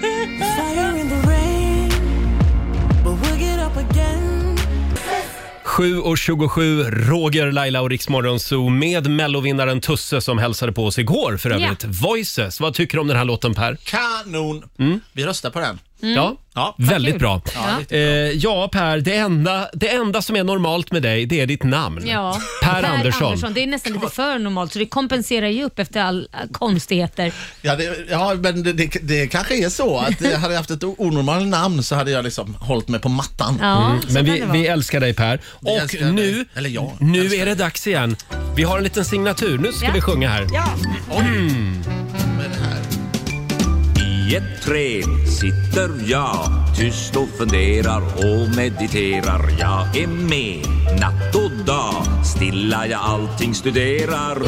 Sju och 27, Roger, Laila och Rix Morgonzoo med mellovinnaren Tusse som hälsade på oss igår för övrigt. Voices, vad tycker du om den här låten Per? Mm. Kanon. Vi röstar på den. Mm. Ja. Ja. Väldigt Vad kul. bra. Ja, Ja, eh, ja Per, det enda, det enda som är normalt med dig, det är ditt namn. Ja. Per Andersson. Det är nästan lite för normalt, så det kompenserar ju upp efter all äh, konstigheter. Ja, det, ja men det, det, det kanske är så att eh, hade jag haft ett o- onormalt namn så hade jag liksom hållit mig på mattan. Ja, Mm. så Men vi, vi älskar dig Per. Och nu, nu är det dags igen. Vi har en liten signatur. Nu ska Ja. vi sjunga här. Ja. Mm. I ett träd sitter jag tyst och funderar och mediterar. Jag är med natt och dag, stilla jag allting studerar.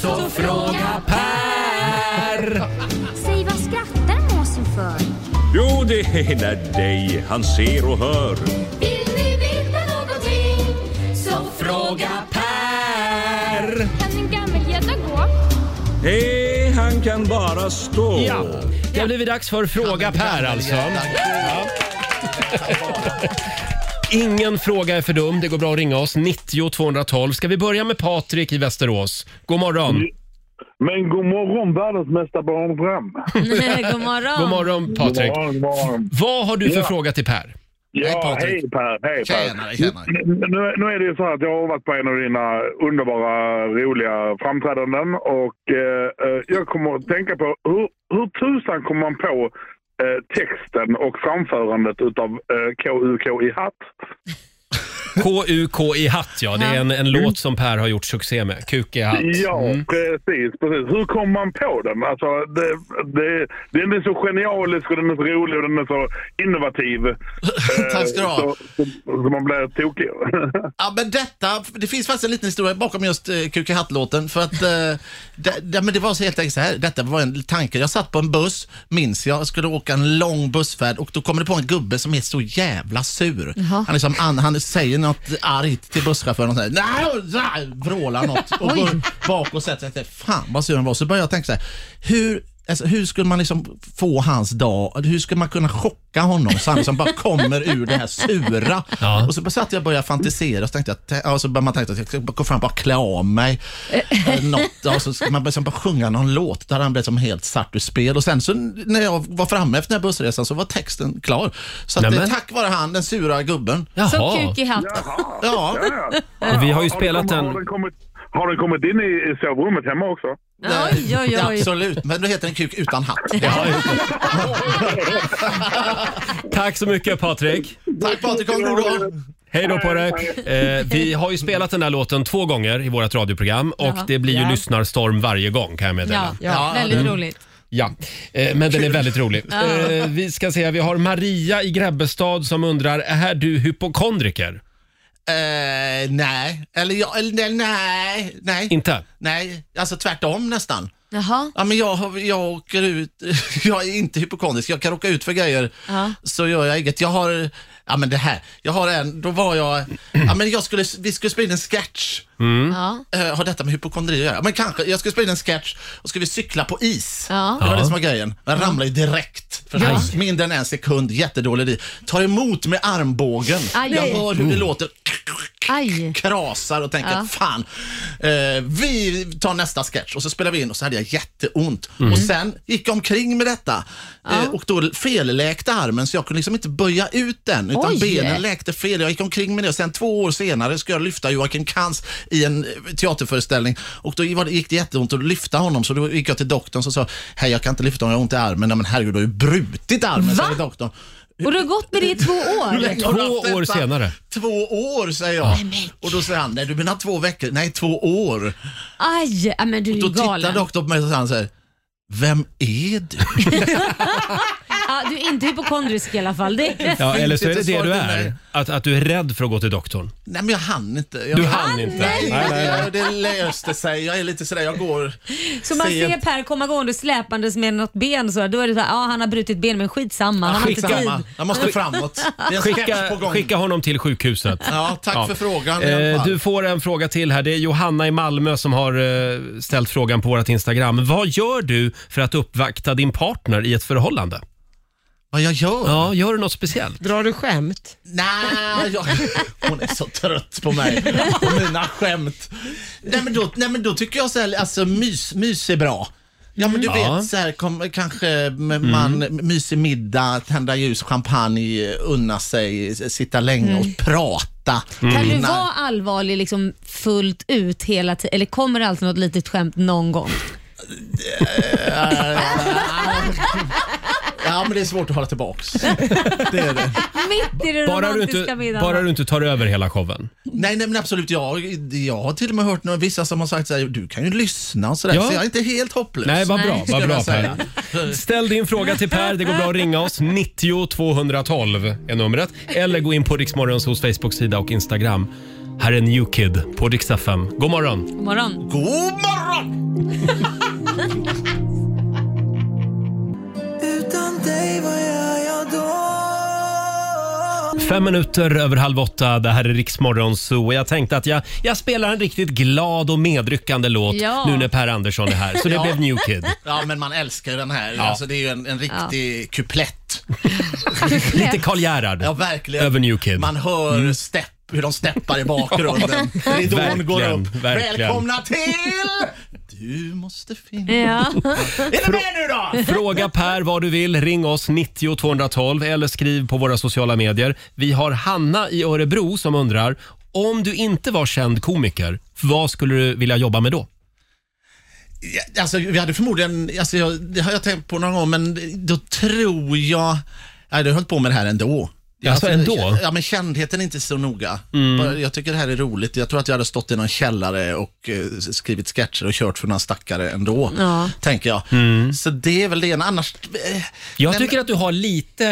Så fråga Per. Säg vad skrattar måsen för? Jo, det är när dig han ser och hör. Vill ni veta någonting? Så fråga Per. Kan en gammelgädda gå? Nej, han kan bara stå. Ja. Det har blivit dags för Fråga Per alltså. Mm. Ja. Ingen fråga är för dum. Det går bra att ringa oss. 90 212. Ska vi börja med Patrik i Västerås? God morgon. Mm, Men god morgon världens mesta barnprogram. Mm, god morgon. God morgon Patrik. God morgon, god morgon. Vad har du för Ja. fråga till Per? Ja, Patrik. hej Per. Hej, per. Tjenare, tjenare. Nu, nu är det ju så att jag har varit på en av dina underbara, roliga framträdanden och eh, eh, jag kommer att tänka på hur, hur tusan kommer man på eh, texten och framförandet utav eh, KUK i hatt? KUK i hatt, ja. Det är en, en låt som Per har gjort succé med. Kuk i hatt. Ja, Mm. precis, precis. Hur kom man på den? Alltså, det, det, den är så genialisk och den är så rolig och den är så innovativ. Tack ska du ha. Eh, Så, så, så man blir tokig. Ja, men detta, det finns faktiskt en liten historia bakom just eh, Kuk i hatt-låten. För att, eh, det, det, men det var så helt enkelt så här, detta var en tanke. Jag satt på en buss, minns jag, skulle åka en lång bussfärd och då kommer det på en gubbe som är så jävla sur. Jaha. Han, liksom, an, han säger något argt till busschauffören och så här, "Nej, nej", vrålar något och Oj. går bak och sätter sig. Jag tänkte, Fan vad sur han var. Så började jag tänka så här, hur Alltså, hur skulle man liksom få hans dag? Hur skulle man kunna chocka honom så han liksom bara kommer ur det här sura? Ja. Och så bara satt jag och började fantisera och så tänkte jag, ja, och så började man tänka att jag ska bara gå fram och bara klä av mig. eller Något, Ja, och så ska man liksom bara sjunga någon låt. Där hade han blev som helt satt ur spel. Och sen så när jag var framme efter den här bussresan så var texten klar. Så att, Nämen. eh, tack vare han, den sura gubben. Jaha. Som kuk i hatt. Ja. Och vi har ju den spelat kommit- en... Har den kommit, har den kommit in i i sovrummet hemma också? Oj, oj, oj. Absolut, men då heter den kuk utan hatt. Tack så mycket Patrik. Tack Patrik, ha en god dag. Hej då på dig. Eh, vi har ju spelat den här låten två gånger i vårt radioprogram och Jaha. det blir ju Ja. lyssnarstorm varje gång kan jag meddela. Ja, väldigt Mm. roligt. Ja, eh, men den är väldigt rolig. Ja. Eh, Vi ska se, vi har Maria i Grebbestad som undrar, är du hypokondriker? Eh, nej, eller jag, eller nej, nej, nej. Inte? Nej, alltså tvärtom nästan. Jaha. Ja, men jag, har- jag åker ut, jag är inte hypokondrisk, jag kan råka ut för grejer Ja. så gör jag inget. Jag har, ja men det här, jag har en, då var jag, ja men jag skulle, vi skulle spela in en sketch. Mm. Ja. Eh, har detta med hypokondri att göra? Men kanske, jag skulle spela in en sketch och skulle vi cykla på is. Ja. Det var Ja. det som var grejen. Jag ramlade ju direkt. För Ja. Mindre än en sekund, jättedålig di. Tar emot med armbågen. Aj. Jag hör hur det Mm. låter. Aj. Krasar och tänker, Ja. fan, eh, vi tar nästa sketch och så spelar vi in och så hade jag jätteont. Mm. Och sen gick jag omkring med detta eh, och då felläkte armen så jag kunde liksom inte böja ut den utan Oj. benen läkte fel. Jag gick omkring med det och sen två år senare ska jag lyfta Joakim Kans i en eh, teaterföreställning och då var det- gick det jätteont att lyfta honom så då gick jag till doktorn och sa, hej jag kan inte lyfta honom, jag har ont i armen. Nej, men herregud, du har ju brutit armen, Va? säger doktorn. Och du har gått med det i två Hur år? länge har du haft detta? år senare. Två år säger jag. och då säger han, nej du menar två veckor? Nej, två år. Aj, ja, men du är Då ju tittar galen. doktorn på mig och han säger, vem är du? Ja, du är inte hypokondrisk i alla fall. Det... Ja, eh. eller så är det Finns det det ett du svar till är, mig? att, att du är rädd för att gå till doktorn. Nej men jag hann inte. Jag Du hann inte. Nej, Nej, nej, nej. det löste sig. Jag är lite sådär, jag går Så man sent. ser Per komma gående släpandes med något ben så, då är det så här, ja han har brutit ben men skitsamma, han har inte tid. Skitsamma. Jag måste framåt. Det är en sketch på Skicka, gång. skicka honom till sjukhuset. Ja, tack för frågan i alla Eh, fall. du får en fråga till här. Det är Johanna i Malmö som har eh, ställt frågan på vårt Instagram. Vad gör du för att uppvakta din partner i ett förhållande? Vad jag gör? Ja, gör du något speciellt? Drar du skämt? Ah. Nej, jag, hon är så trött på mig och mina skämt. Nej men då, nej, men då tycker jag så här, alltså mys, mys är bra. Ja men du Mm. Ja. vet så här, kom, kanske med Mm. man, mysig middag, tända ljus, champagne, unna sig, s- sitta länge Mm. och prata. Kan du Innan- vara allvarlig liksom fullt ut hela tiden eller kommer det alltid något litet skämt någon gång? eh, Ja men det är svårt att hålla tillbaks. Mitt i det Bara du, romantiska inte, middagen. bara du inte tar över hela showen. Nej, nej men absolut, jag, jag har till och med hört några, vissa som har sagt så här, du kan ju lyssna och sådär, Ja. så jag är inte helt hopplös. Nej, vad bra. skulle Vad bra jag säga. per. Ställ din fråga till Per. Det går bra att ringa oss. 90 212 är numret. Eller gå in på Riksmorgons hos Facebook-sida och Instagram. Här är New Kid på Rix FM. God morgon! God morgon. God morgon! Utan dig, vad gör jag då? Fem minuter över halv åtta. Det här är Riksmorgon Zoo. Och Jag tänkte att jag, jag spelar en riktigt glad och medryckande låt Ja. nu när Per Andersson är här. Så det Ja. blev New Kid. Ja, men man älskar ju den här. Ja. Alltså, det är ju en, en riktig kuplett. Lite Karl Gerhard Ja, verkligen. över New Kid. Mm. Man hör stepp, hur de steppar i bakgrunden. Ja. Ridån går Verkligen, upp. verkligen. Välkomna till... Du måste finna... Ja. Är du med nu då? Fråga Per vad du vill. Ring oss 90 212 eller skriv på våra sociala medier. Vi har Hanna i Örebro som undrar om du inte var känd komiker, vad skulle du vilja jobba med då? Ja, Alltså, vi hade förmodligen, alltså, jag, det har jag tänkt på någon gång, men då tror jag... Jag hade hållit på med det här ändå. Jag- Alltså, ändå? Ja, men kändheten är inte så noga. Mm. Bara, jag tycker det här är roligt. Jag tror att jag hade stått i någon källare och eh, skrivit sketcher och kört för några stackare ändå, Ja. tänker jag. Så det är väl det ena. Annars... eh, Mm. Jag nej, tycker att du har lite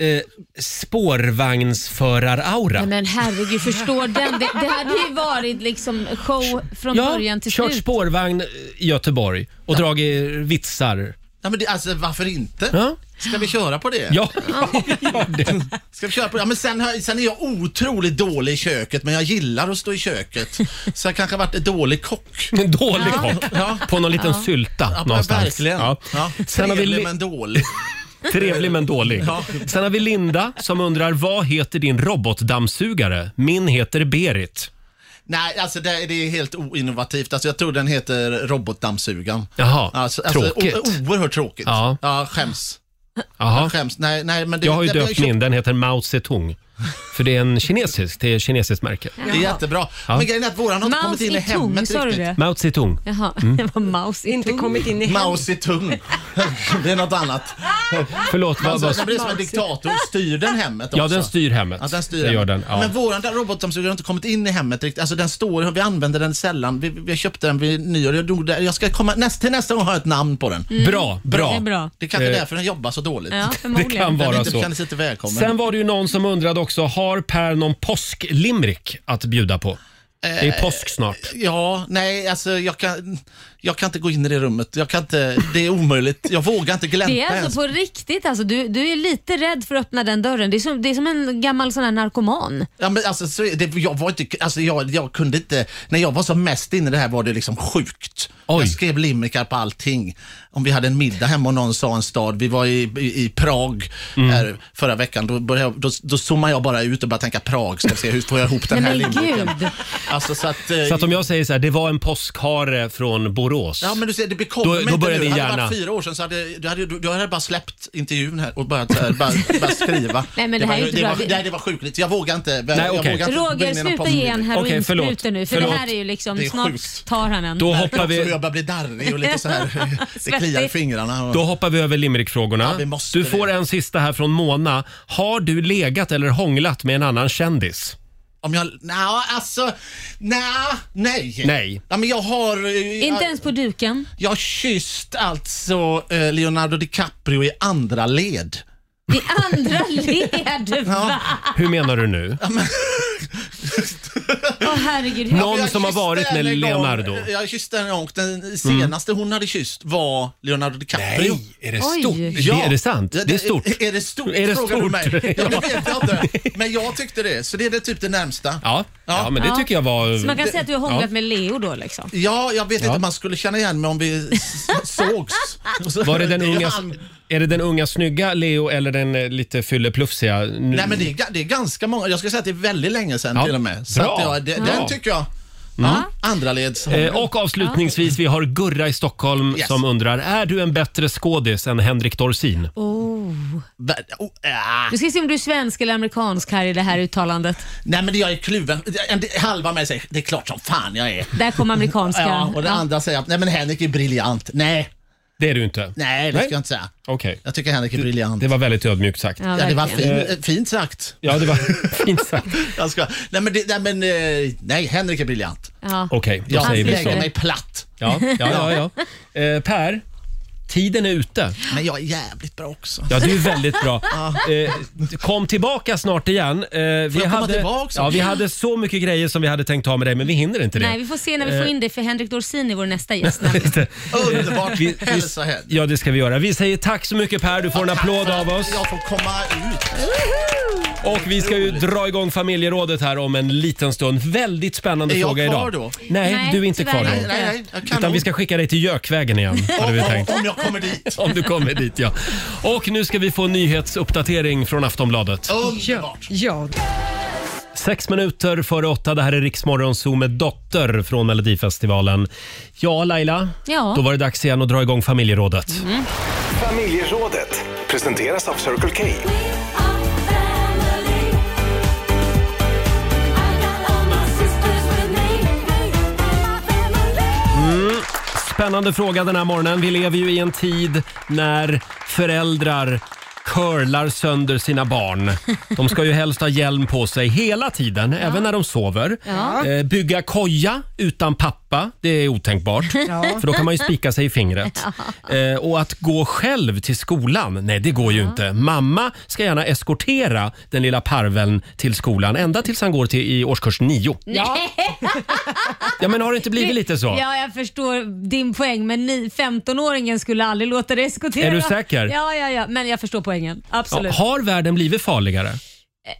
eh, spårvagnsförar-aura. Nej, men herregud, förstår den? Det, det hade ju varit liksom show från början till kört slut. spårvagn i Göteborg och dragit vitsar. Ja, men det, alltså, varför inte? Ska vi köra på det? Ja, Ska vi köra på det? Ja, men sen, har- sen är jag otroligt dålig i köket, men jag gillar att stå i köket. Så jag kanske har varit en dålig kock. En dålig kock. På någon liten sylta ja, någonstans. Verkligen. Ja. Ja. Sen har vi Trevlig li- men dålig. Trevlig men dålig. Ja. Sen har vi Linda som undrar vad heter din robotdammsugare? Min heter Berit. Nej, alltså det, det är helt oinnovativt. Alltså, jag tror den heter robotdammsugaren. Jaha, Alltså, alltså, tråkigt. o- oerhört tråkigt. Ja. ja skäms. Jaha. Jag skäms. Nej, nej, men det, Jag har ju det- döpt min, den heter Mao Zedong. För det är en kinesisk, det är ett kinesiskt märke. Det är jättebra. Ja. Men grejen är att våran har inte Mouse kommit in i i tung, hemmet sa du riktigt. det? Mao Zedong. Jaha, Mm. det var maus i Inte kommit in Mao Zedong. Det är något annat. Förlåt, vad Alltså, var den blir som en diktator. Styr den hemmet också? Ja, den styr hemmet. Ja, den styr det gör den. hemmet. Ja. Men våran där robotdammsugare har inte kommit in i hemmet riktigt. Alltså den står, vi använder den sällan. Vi, vi köpte den vid nyår. Jag, drog där. jag ska komma, näst, till nästa gång har jag ett namn på den. Mm. Bra, bra. Det är bra. Det är kanske Eh, därför den jobbar så dåligt. Ja, förmodligen. Det kan vara den inte, så. kändes inte välkommen. Sen var det ju någon som undrade också, har Per någon påsklimrik att bjuda på? Det är Eh, påsk snart. Ja, nej, alltså jag kan, jag kan inte gå in i det rummet. Jag kan inte, det är omöjligt. Jag vågar inte glänta Det är ens. alltså på riktigt alltså. Du, du är lite rädd för att öppna den dörren. Det är som, det är som en gammal sån här narkoman. Ja, men alltså, så, är det, jag var inte, alltså jag, jag kunde inte, när jag var som mest inne i det här var det liksom sjukt. Jag skrev limerickar på allting. Om vi hade en middag hemma och någon sa en stad, vi var i, i, i Prag Mm. här, förra veckan, då, började, jag- då, då zoomade jag bara ut och började tänka Prag, ska vi se hur får jag ihop den här Nej, men limericken. gud. Alltså, så att, Så eh, att om jag säger så här, det var en påskhare från Borås. Ja men du ser, det bekommer Då- mig då inte börjar nu. din Hade det hjärna- varit fyra år sedan så hade, du hade, du, du hade bara släppt intervjun här och börjat, så här, bara, bara skriva. Nej, men det här var, är ju inte det bra. Var, nej, det var sjukligt. Jag vågar inte. Nej, jag okej. vågar inte gå in Roger, i någon sluta podd. ge en heroinspruta förlåt. nu för Förlåt. det här är ju liksom, Det är snart tar han en. Då hoppar vi... Jag börjar bli darrig och lite så här, det kliar i fingrarna. Då hoppar vi över limerickfrågorna. du får en sista här från Mona. Har du legat eller hånglat med en annan kändis? Om jag, nja, alltså, nja, nej. Nej. Ja, men jag har... eh, Inte jag, ens på duken. jag har kysst alltså eh, Leonardo DiCaprio i andra led. I andra led, va? Hur menar du nu? Åh herregud. Någon Ja, jag som har kysste varit med henne en gång. Leonardo. Mm. Jag kysste en gång. Den senaste hon hade kysst var Leonardo DiCaprio. Nej, är det Oj. stort? Det- är det sant? Det är stort. Är, är det stort? Är det frågar du stort? mig. Ja. Ja, det vet jag inte. Men jag tyckte det. Så det är det typ det närmsta. Ja, ja. men det Ja. tycker jag var... Så man kan säga att du har hånglat Ja. med Leo då liksom? Ja, jag vet inte om man skulle känna igen mig om vi s- sågs. Var det den är ju unga, han. är det den unga snygga Leo eller den eh, lite fylleplufsiga? Nu- Nej men det är, ga- det är ganska många, jag ska säga att det är väldigt länge sedan Ja. till och med. Så Bra. att jag, det, Bra. Den tycker jag. Mm. Ja. Andra leds Eh, och avslutningsvis, vi har Gurra i Stockholm Yes. som undrar, är du en bättre skådis än Henrik Dorsin? Oh. Ah. Du ska se om du är svensk eller amerikansk här i det här uttalandet. Nej men det- jag är kluven. En del- Halva mig säger det är klart som fan jag är. Där kom amerikanska. Ja, och den andra säger att nej men Henrik är briljant. Nej. Det är du inte. Nej, det ska jag inte säga. Okej. Jag tycker Henrik är briljant. Det var väldigt ödmjukt sagt. Ja, det var fin, Eh, eh, fint sagt. Ja, det var fint sagt. jag ska, nej, men, det, nej, men eh, nej, Henrik är briljant. Ja. Okej, då Jag säger vi så. lägger mig platt. Ja, ja, ja. ja. Eh, per, tiden är ute. Men jag är jävligt bra också. Ja, du är väldigt bra. Eh, kom tillbaka snart igen. Eh, vi, jag komma hade, tillbaka? ja, vi hade så mycket grejer som vi hade tänkt ha med dig, men vi hinner inte det. Eh. Nej, vi får se när vi får in dig för Henrik Dorsin är vår nästa gäst. Underbart. Vi- vi- Hälsa Henrik. Ja, det ska vi göra. Vi säger tack så mycket Per, du får en applåd av oss. Jag får komma ut. Och vi ska ju dra igång familjerådet här om en liten stund. Väldigt spännande Är jag fråga kvar idag. då? Nej, Nej, du är inte tyvärr kvar då. inte. Nej, nej, jag kan Utan vi nog. ska skicka dig till Jökvägen igen, hade vi tänkt. Om jag kommer dit. Om du kommer dit, ja. Och nu ska vi få en nyhetsuppdatering från Aftonbladet. Underbart. Ja. Sex minuter före åtta, det här är Riksmorgon Zoo med Dotter från Melodifestivalen. Ja, Laila, Ja. då var det dags igen att dra igång familjerådet. Mm. Familjerådet presenteras av Circle K. Mm. Spännande fråga den här morgonen. Vi lever ju i en tid när föräldrar curlar sönder sina barn. De ska ju helst ha hjälm på sig hela tiden, även när de sover. Ja. Eh, bygga koja utan pappa, det är otänkbart. Ja. För då kan man ju spika sig i fingret. Eh, och att gå själv till skolan, nej det går ju inte. Mamma ska gärna eskortera den lilla parveln till skolan ända tills han går till, i årskurs nio. Nej. Ja men har det inte blivit lite så? Ja, jag förstår din poäng, men ni 15-åringen skulle aldrig låta dig eskortera. Är du säker? Ja, ja, ja, men jag förstår poängen. Absolut. Eh, Ja, har världen blivit farligare?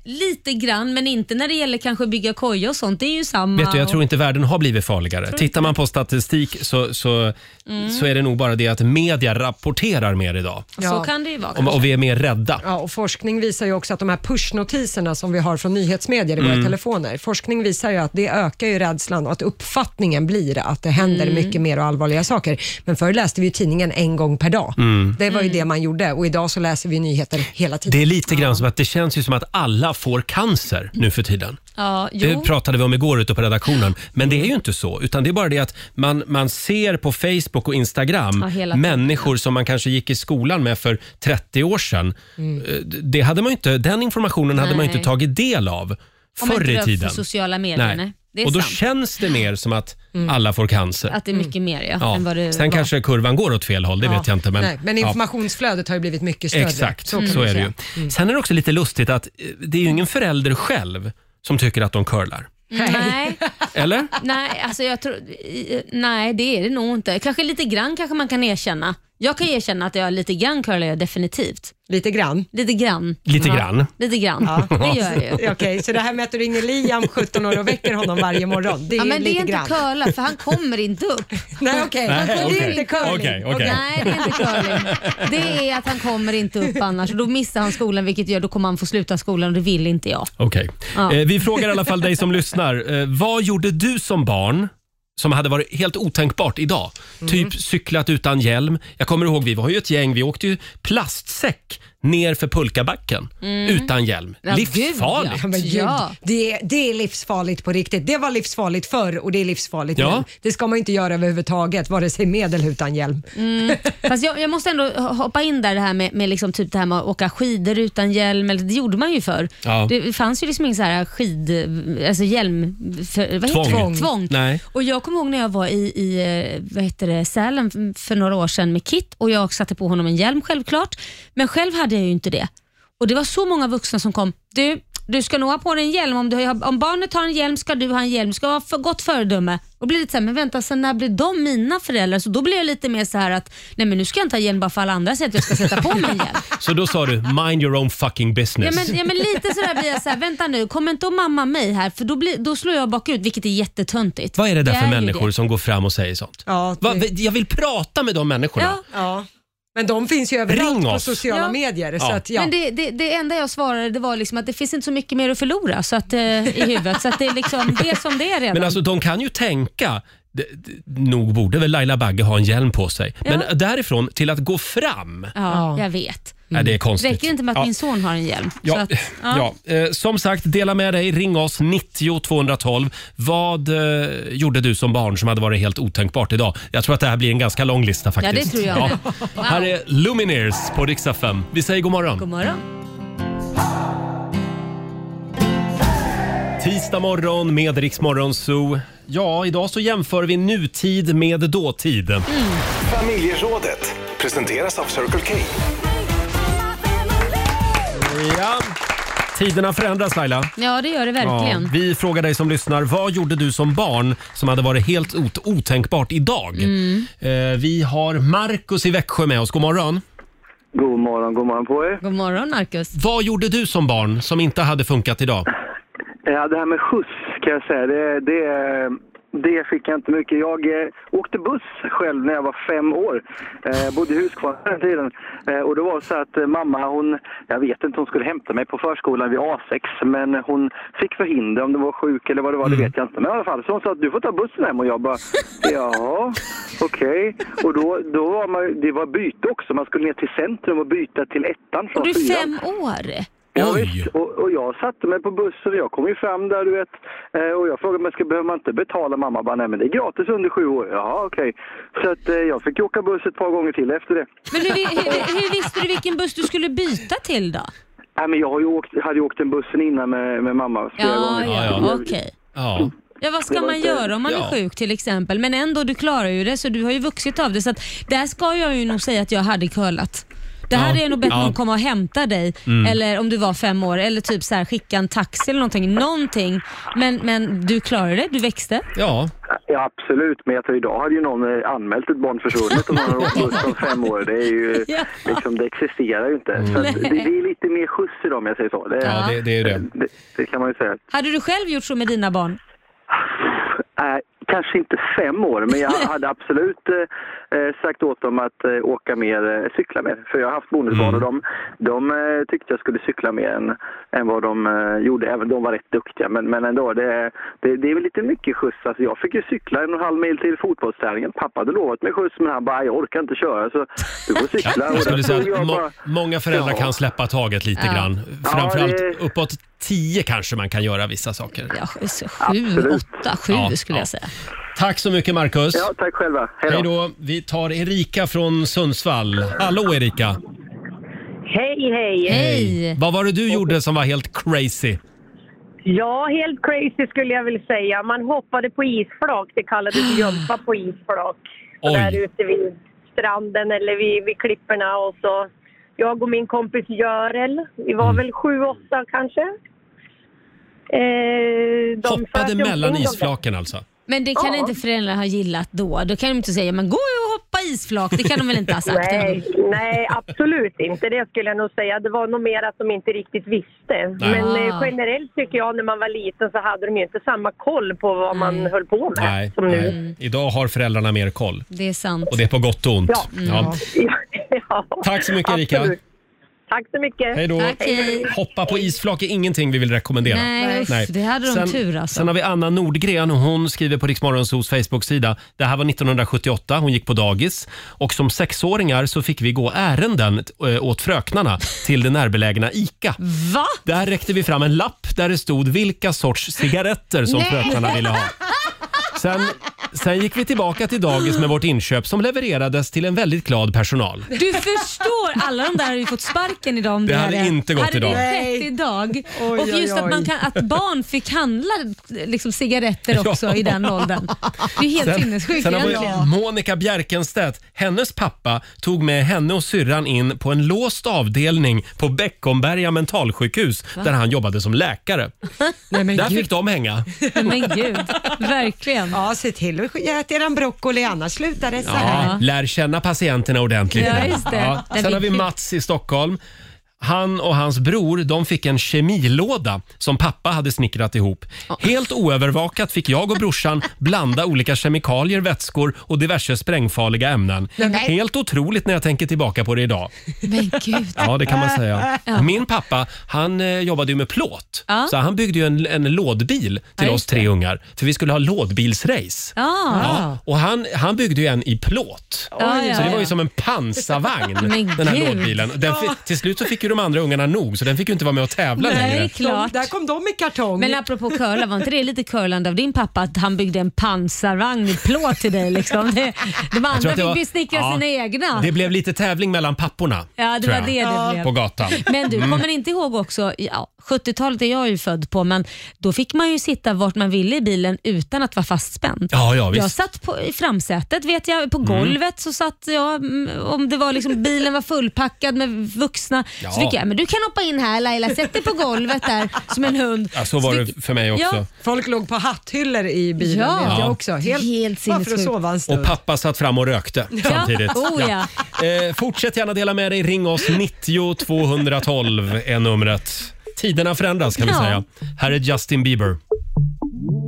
Lite grann, men inte när det gäller kanske bygga koja och sånt. Det är ju samma. Vet du, jag och- tror inte världen har blivit farligare. Tror du Tittar man på statistik så, så, Mm. så är det nog bara det att media rapporterar mer idag. Ja. Så kan det ju vara. Och, och vi är mer rädda. Ja, och forskning visar ju också att de här pushnotiserna som vi har från nyhetsmedier i Mm. våra telefoner, forskning visar ju att det ökar ju rädslan och att uppfattningen blir att det händer Mm. mycket mer och allvarliga saker. Men förr läste vi ju tidningen en gång per dag. Mm. Det var ju det man gjorde och idag så läser vi nyheter hela tiden. Det är lite grann som att det känns ju som att alla får cancer nu för tiden. Ja, Det jo. pratade vi om igår ute på redaktionen. Men det är ju inte så, utan det är bara det att man, man ser på Facebook och Instagram Ja, hela tiden. människor som man kanske gick i skolan med för 30 år sedan. Mm. Eh, Det hade man ju inte, den informationen hade man ju inte Nej. tagit del av Om inte förr det i var för tiden. sociala medier, nej. Det är och då sant. Mm. känns Mm. det mer som att alla får cancer. Att det är mycket mer ja, Ja. än vad det Sen var. kanske kurvan går åt fel håll, det vet jag inte. Men, Nej, men ja. informationsflödet har ju blivit mycket större. Exakt, så, kan man är det säga. Mm. ju. Sen är det också lite lustigt att eh, det är ju ingen förälder själv som tycker att de curlar. Nej. Eller? Nej, alltså jag tror, i- nej, det är det nog inte. Kanske lite grann kanske man kan erkänna. Jag kan erkänna att jag lite grann curlar jag definitivt. Lite grann? Lite grann. Lite grann. Lite grann, det gör jag ju. Okej, så det här med att du ringer Liam 17 år och väcker honom varje morgon, det är ja, ju men det lite är inte grann. curla för han kommer inte upp. Nej, okej. Nej, Han okej. kommer inte curling. Okej, okej. Nej, det är inte curling. Det är att han kommer inte upp annars. Då missar han skolan vilket gör då kommer han få sluta skolan och det vill inte jag. Okej. Ja. Eh, vi frågar i alla fall dig som lyssnar. Eh, vad gjorde du som barn som hade varit helt otänkbart idag? Mm. Typ cyklat utan hjälm. Jag kommer ihåg, vi var ju ett gäng. Vi åkte ju plastsäck ner för pulkabacken Mm. utan hjälm. Livsfarligt. Ja, men gud, det, är- det är livsfarligt på riktigt. Det var livsfarligt förr och det är livsfarligt Ja. nu. Det ska man inte göra överhuvudtaget, vare sig med eller utan hjälm. Mm. Fast jag, jag måste ändå hoppa in där det här med, med liksom typ det här med att åka skidor utan hjälm. Eller, det gjorde man ju förr. Ja. Det fanns ju liksom ingen så här skid, alltså hjälm... För, vad heter det? Tvång. Nej. Och Jag kommer ihåg när jag var i, i eh, vad heter det, Sälen för några år sedan med Kit och jag satte på honom en hjälm självklart. Men själv hade jag ju inte det. Och Det var så många vuxna som kom. Du, du ska nog ha på dig en hjälm. Om, du, har- om barnet har en hjälm ska du ha en hjälm. ska vara för gott föredöme. Och blir lite så här, men vänta, sen när blir de mina föräldrar? Så då blir jag lite mer så här att, nej men nu ska jag inte ha hjälm bara för alla andra säger att jag ska sätta på mig en hjälm. Så då sa du, mind your own fucking Ja business. men, ja men lite sådär blir jag såhär, vänta nu, kom inte och mamma mig här för då, blir, då slår jag bakut vilket är jättetöntigt. Vad är det där för ju människor som går fram och säger sånt? Ja, Va, jag vill prata med de människorna. Ja. Men de finns ju överallt Ring på oss. sociala medier. Så att, ja. Men det, det, det enda jag svarade det var liksom att det finns inte så mycket mer att förlora så att, eh, i huvudet. Så att det är liksom det som det är redan. Men alltså de kan ju tänka. d- d- Nog borde väl Laila Bagge ha en hjälm på sig. Ja. Men därifrån till att gå fram. ja, jag vet. Ja, det är konstigt. Mm. Räcker inte med att Ja. min son har en hjälm? Så Ja, att, ja. Eh, som sagt, dela med dig. Ring oss 90 212. Vad eh, gjorde du som barn som hade varit helt otänkbart idag? Jag tror att det här blir en ganska lång lista ja, faktiskt. det tror jag Ja. med. Wow. Här är Lumineers på Rix FM. Vi säger god morgon. God morgon. Tisdag morgon med Rix Morgon Zoo. Ja, idag så jämför vi nutid med dåtid. Familjerådet presenteras av Circle K. Ja. Tiderna förändras Laila. Ja, det gör det verkligen. Ja, vi frågar dig som lyssnar, vad gjorde du som barn som hade varit helt ot- otänkbart idag? Mm. Eh, vi har Markus i Växjö med oss. God morgon. God morgon, god morgon på er. God morgon Marcus. Vad gjorde du som barn som inte hade funkat idag? Ja, det här med skjuts kan jag säga, det, det, det fick jag inte mycket. Jag eh, åkte buss själv när jag var fem år. Eh, bodde i Huskvarna den tiden. Eh, och det var så att eh, mamma, hon, jag vet inte, hon skulle hämta mig på förskolan vid A6, men hon fick förhinder om det var sjuk eller vad det var, det vet jag inte. Men i alla fall, så hon sa att du får ta bussen hem och jag bara, jaha, okej. Och då, då var man, ju- det var byte också, man skulle ner till centrum och byta till ettan från Och du är fyran. fem år. Ja, visst. Och, och jag satte mig på bussen och jag kom ju fram där, du vet. Eh, Och jag frågade, men ska, behöver man inte betala? Mamma bara, nej men det är gratis under sju år. Jaha, okej. Så att eh, jag fick ju åka buss ett par gånger till efter det. Men hur, hur, hur visste du vilken buss du skulle byta till då? Nej, men jag har ju åkt, hade ju åkt den bussen innan med, med mamma flera Ja, gånger. Mm. ja, Jag- okej. Ja. Ja, vad Det ska var man inte- göra om man Ja. är sjuk till exempel? Men ändå, du klarar ju det så du har ju vuxit av det. Så att, där ska jag ju nog säga att jag hade curlat. Det här Ja. är nog bättre Ja. att komma och hämta dig, Mm. eller om du var fem år, eller typ så här, skicka en taxi eller någonting. någonting. Men, men du klarade det, du växte. Ja. Ja, absolut. Men jag tror idag hade ju någon eh, anmält ett barn försvunnet om man har åkt buss som fem år. Det är ju, Ja. Mm. liksom, det existerar ju inte. Så att det, det är lite mer skjuts idag om jag säger så. Det, Ja, det- är det. det. Det kan man ju säga. Hade du själv gjort så med dina barn? Äh, kanske inte fem år, men jag hade absolut eh, eh, sagt åt dem att eh, åka mer, eh, cykla mer. För jag har haft bonusbarn och Mm. de, de eh, tyckte jag skulle cykla mer än, än vad de eh, gjorde. Även de var rätt duktiga, men, men ändå. Det, det, det är väl lite mycket skjuts. Alltså, jag fick ju cykla en och en halv mil till fotbollsträningen. Pappa hade lovat mig skjuts, men han bara, jag orkar inte köra så du får cykla. Jag skulle Och säga där att stod jag må- bara- många föräldrar Ja. kan släppa taget lite Ja. grann. Ja, Framförallt det- uppåt tio kanske man kan göra vissa saker. Sju, åtta, sju Ja, skulle ja. jag säga. Tack så mycket Marcus. Ja, tack själva. Hej då. Hej då. Vi tar Erika från Sundsvall. Hallå Erika. Hej, hej! Vad var det du gjorde som var helt crazy? Ja, helt crazy skulle jag vilja säga. Man hoppade på isflak. Det kallades jumpa på isflak. Så Oj. där ute vid stranden eller vid, vid klipporna. Och så jag och min kompis Görel, vi var väl sju, åtta kanske. Eh, de Hoppade sköt ju mellan omkring dem där. isflaken alltså? Men det kan Ja. inte föräldrar ha gillat då. Då kan de inte säga, men gå och hoppa isflak. Det kan de väl inte ha sagt? Nej, nej, absolut inte. Det skulle jag nog säga. Det var nog mer att de inte riktigt visste. Men eh, generellt tycker jag när man var liten så hade de ju inte samma koll på vad man höll på med. Nej, som nu. nej. Idag har föräldrarna mer koll. Det är sant. Mm. Och det är på gott och ont. Ja. Ja. Ja. Tack så mycket Erika. Absolut. Tack så mycket. Hej då. Hoppa på isflak är ingenting vi vill rekommendera. Nej, usch, det hade de sen, tur alltså. Sen har vi Anna Nordgren och hon skriver på Riksmorgonsos Facebook-sida. Det här var 1978, hon gick på dagis och som sexåringar så fick vi gå ärenden eh, åt fröknarna till det närbelägna ICA. Va? Där räckte vi fram en lapp där det stod vilka sorts cigaretter som Nej. fröknarna ville ha. Sen, sen gick vi tillbaka till dagis med vårt inköp som levererades till en väldigt glad personal. Du förstår, alla de där har ju fått sparken idag om Det hade inte gått hade idag. det skett idag. Oj, och just oj, att, man oj. kan, att barn fick handla liksom, cigaretter också Ja. i den åldern. Det är helt sinnessjukt sen har vi egentligen. Monica Bjerkenstedt, hennes pappa tog med henne och syrran in på en låst avdelning på Beckomberga mentalsjukhus Va? där han jobbade som läkare. där fick de hänga. Men gud, verkligen. Ja, se till att äta eran broccoli annars slutar det så Ja, här. lär känna patienterna ordentligt. Ja, just det. Sen har vi Mats i Stockholm. Han och hans bror de fick en kemilåda som pappa hade snickrat ihop. Helt oövervakat fick jag och brorsan blanda olika kemikalier, vätskor och diverse sprängfarliga ämnen. Nej, men- Helt otroligt när jag tänker tillbaka på det idag. Men gud. Ja, det kan man säga. Ja. Min pappa, han eh, jobbade ju med plåt. Ja. Så han byggde ju en, en lådbil till Ja, oss just tre ungar. För vi skulle ha lådbilsrace. Ah. Ja, och han, han byggde ju en i plåt. Ja, ja, så det var ju ja. som en pansarvagn, Men den här gud. lådbilen. Den fi- Ja. till slut så fick ju de andra ungarna nog, så den fick ju inte vara med och tävla längre. där kom de i kartong. Men apropå curla, var inte det lite curlande av din pappa att han byggde en pansarvagn i plåt till dig? Liksom? Det, de Jag tror andra att det var- fick besnickra ja, sina egna. Det blev lite tävling mellan papporna. Ja, det tror var jag, det det blev. På gatan. Men du, Mm. kommer ni inte ihåg också, ja, 70-talet är jag ju född på, men då fick man ju sitta vart man ville i bilen utan att vara fastspänd. Ja, ja, visst. jag satt på, i framsätet, vet jag, på Mm. golvet så satt jag, mm, om det var liksom bilen var fullpackad med vuxna, Ja. så fick jag, men du kan hoppa in här Laila, sätt dig på golvet där som en hund. Ja, så var det för mig också. Folk låg på hatthyllor i bilen Ja. vet jag Ja. också. Helt, Helt bara för att sinnessjukt. sova en stund. Och pappa satt fram och rökte Ja. samtidigt. Oh, Eh, fortsätt gärna dela med dig. Ring oss 90 212 är numret. Tiderna förändras kan vi Ja. säga. Här är Justin Bieber.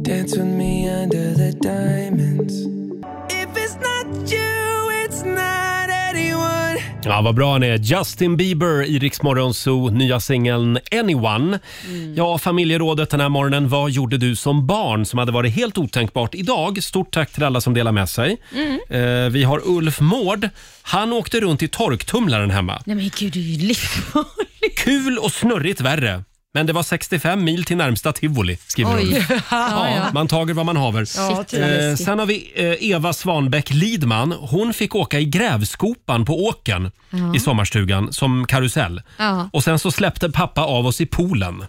Dance with me under the diamonds. If it's not you, it's not anyone. Ja, vad bra han är. Justin Bieber i Rix Morgon Zoo, nya singeln Anyone. Ja, familjerådet den här morgonen. Vad gjorde du som barn som hade varit helt otänkbart idag? Stort tack till alla som delar med sig. Mm. Eh, vi har Ulf Mård. Han åkte runt i torktumlaren hemma. Nej men gud, det är ju livsfarligt. Kul och snurrigt värre. Men det var 65 mil till närmsta tivoli, skriver Oj. Ulf. Ja, ja. Man tager vad man haver. Ja, Shit, vad eh, läskigt. sen har vi eh, Eva Svanbäck Lidman. Hon fick åka i grävskopan på åken Ja. i sommarstugan som karusell. Ja. Och sen så släppte pappa av oss i poolen.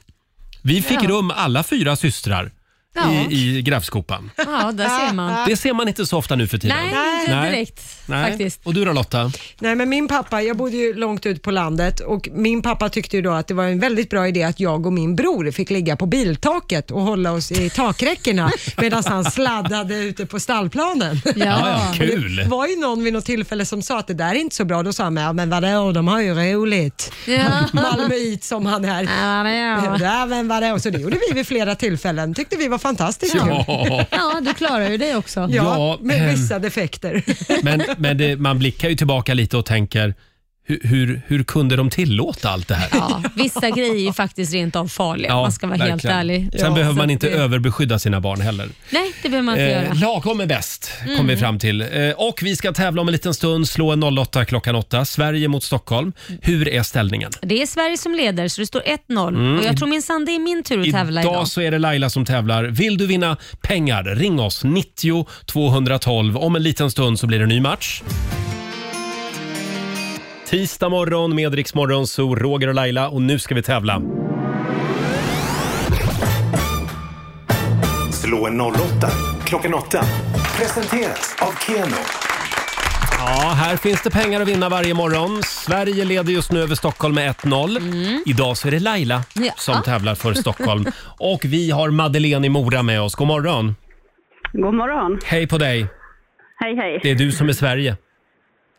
Vi fick Ja. rum alla fyra systrar Ja. i, i grävskopan. Ja, där ser man. Det ser man inte så ofta nu för tiden. Nej, inte direkt, faktiskt. Och du då Lotta? Nej men min pappa, jag bodde ju långt ut på landet och min pappa tyckte ju då att det var en väldigt bra idé att jag och min bror fick ligga på biltaket och hålla oss i takräckena medan han sladdade ute på stallplanen. Ja. Ja, ja, kul. Det var ju någon vid något tillfälle som sa att det där är inte så bra. Då sa han, "Ja, men vadå, de har ju roligt. Ja. Malmöit som han är. Ja, ja, men vadå. Så det gjorde vi vid flera tillfällen. Tyckte vi var fantastiskt Ja. kul. Ja, du klarar ju det också. Ja, Ja, med ehm. vissa defekter. Men, men det, man blickar ju tillbaka lite och tänker hur, hur, hur kunde de tillåta allt det här? Ja, vissa grejer är ju faktiskt rent av farliga, om man ska vara helt verkligen. ärlig. Sen behöver Så man att inte det- överbeskydda sina barn heller. Nej, det behöver man inte Eh, göra. lagom är bäst, kom Mm. vi fram till. Eh, och vi ska tävla om en liten stund, slå en 08 klockan 8. Sverige mot Stockholm. Hur är ställningen? Det är Sverige som leder, så det står 1-0. Mm. Och jag tror minsann det är min tur att tävla idag. Idag så är det Laila som tävlar. Vill du vinna pengar? Ring oss, 90 212. Om en liten stund så blir det en ny match. Tisdag morgon med Rix Morgon, så Roger och Laila och nu ska vi tävla. Slå en 08 klockan 8. Presenteras av Keno. Ja, här finns det pengar att vinna varje morgon. Sverige leder just nu över Stockholm med 1-0. Idag så är det Laila Ja. som tävlar för Stockholm. Och vi har Madeleine i Mora med oss. God morgon! God morgon. Hej på dig! Hej, hej. Det är du som är Sverige.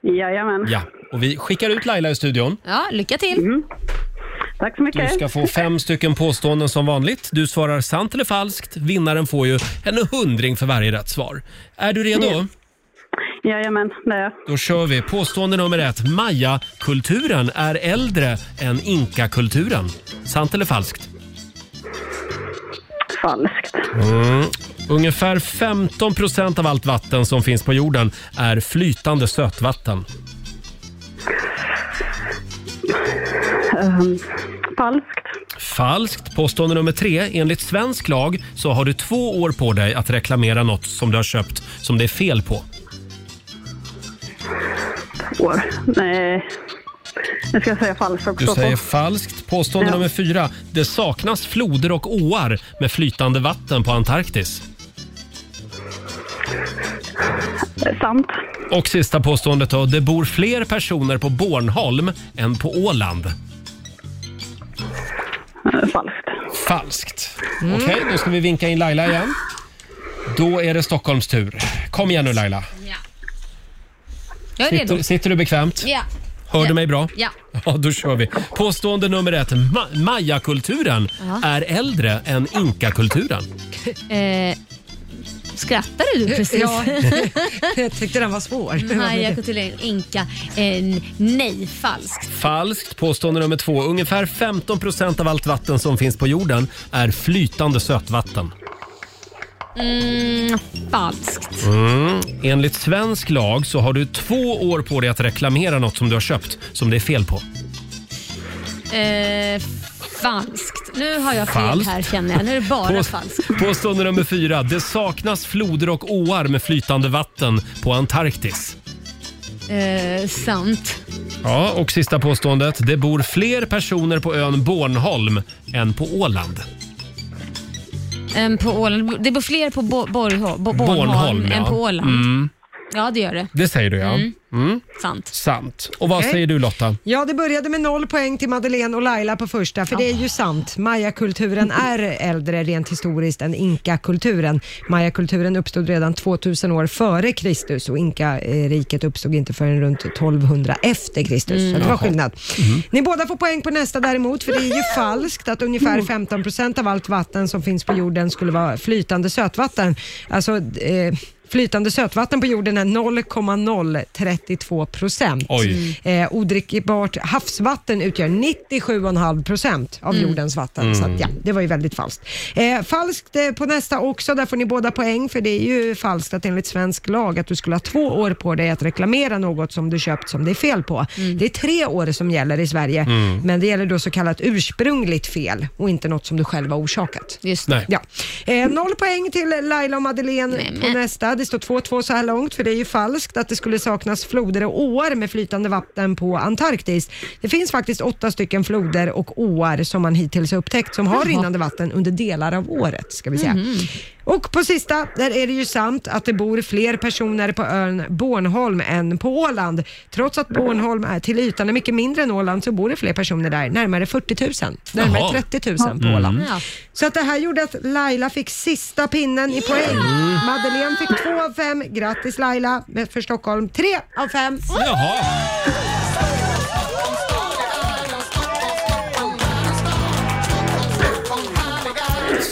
Jajamän. Ja, och vi skickar ut Laila i studion. Ja, lycka till. Mm. Tack så Du mycket. ska få fem stycken påståenden som vanligt. Du svarar sant eller falskt. Vinnaren får ju en hundring för varje rätt svar. Är du redo? Ja. Jajamän, det är jag. Då kör vi. Påstående nummer ett. Maya-kulturen är äldre än Inka-kulturen. Sant eller falskt? Falskt. Mm. Ungefär 15 procent av allt vatten som finns på jorden är flytande sötvatten. Ehm, falskt. Falskt. Påstående nummer tre. Enligt svensk lag så har du två år på dig att reklamera något som du har köpt som det är fel på. År. Nej. Nu ska jag säga falskt också. Du säger falskt. Påstående Ja. nummer fyra. Det saknas floder och åar med flytande vatten på Antarktis. Sant. Och sista påståendet då. Det bor fler personer på Bornholm än på Åland. Eh, Falskt. Falskt. Okej, då ska vi vinka in Laila igen. Då är det Stockholms tur. Kom igen nu Laila. Jag är redo. Sitter, sitter du bekvämt? Ja. Hör du mig bra? Ja. Ja, då kör vi. Påstående nummer ett. Ma- Mayakulturen Ja. är äldre än inkakulturen. Eh, skrattade du Ja, precis? jag tyckte den var svår. Maja Cotilén, Inka. Eh, nej, falskt. Falskt. Påstående nummer två. Ungefär 15 procent av allt vatten som finns på jorden är flytande sötvatten. Mm, falskt. Mm. Enligt svensk lag så har du två år på dig att reklamera något som du har köpt som det är fel på. Eh, falskt. Nu har jag fel Falskt. här känner jag. Nu är det bara Pås- falskt. Påstående nummer fyra. Det saknas floder och åar med flytande vatten på Antarktis. Eh, sant. Ja, och sista påståendet. Det bor fler personer på ön Bornholm än på Åland. Än på Åland. Det bor fler på Bo- Bornholm, Bo- Bornholm, än på Åland. Mm, Ja, det gör det. det säger du ja. Mm. Mm. Sant. Sant. Och vad Okej. säger du Lotta? Ja, det började med noll poäng till Madeleine och Laila på första, för det är ju sant. Mayakulturen är äldre rent historiskt än inkakulturen. Mayakulturen uppstod redan 2000 år före Kristus och inkariket uppstod inte förrän runt 1200 efter Kristus. Mm. Så det var Jaha. skillnad. Mm. Ni båda får poäng på nästa däremot, för det är ju falskt att ungefär 15 procent av allt vatten som finns på jorden skulle vara flytande sötvatten. Alltså, eh, flytande sötvatten på jorden är 0,032 procent. Oj. Eh, odrickbart havsvatten utgör 97,5 procent av Mm. jordens vatten. Mm. Så att, ja, det var ju väldigt falskt. Eh, falskt eh, på nästa också, där får ni båda poäng för det är ju falskt att enligt svensk lag att du skulle ha två år på dig att reklamera något som du köpt som det är fel på. Det är tre år som gäller i Sverige, Mm. men det gäller då så kallat ursprungligt fel och inte något som du själv har orsakat. Just det. Ja. Eh, noll poäng till Laila och Madeleine på nästa. Det står 2-2 så här långt, för det är ju falskt att det skulle saknas floder och åar med flytande vatten på Antarktis. Det finns faktiskt åtta stycken floder och åar som man hittills har upptäckt som har Jaha. rinnande vatten under delar av året, ska vi säga. Mhm. Mhm. Och på sista, där är det ju sant att det bor fler personer på ön Bornholm än på Åland. Trots att Bornholm är till ytan är mycket mindre än Åland så bor det fler personer där, närmare 40 000. Närmare Jaha. 30 000 på Mm. Åland. Ja. Så att det här gjorde att Laila fick sista pinnen i poäng. Madeleine fick två av fem. Grattis Laila med- för Stockholm. Tre av fem. Jaha.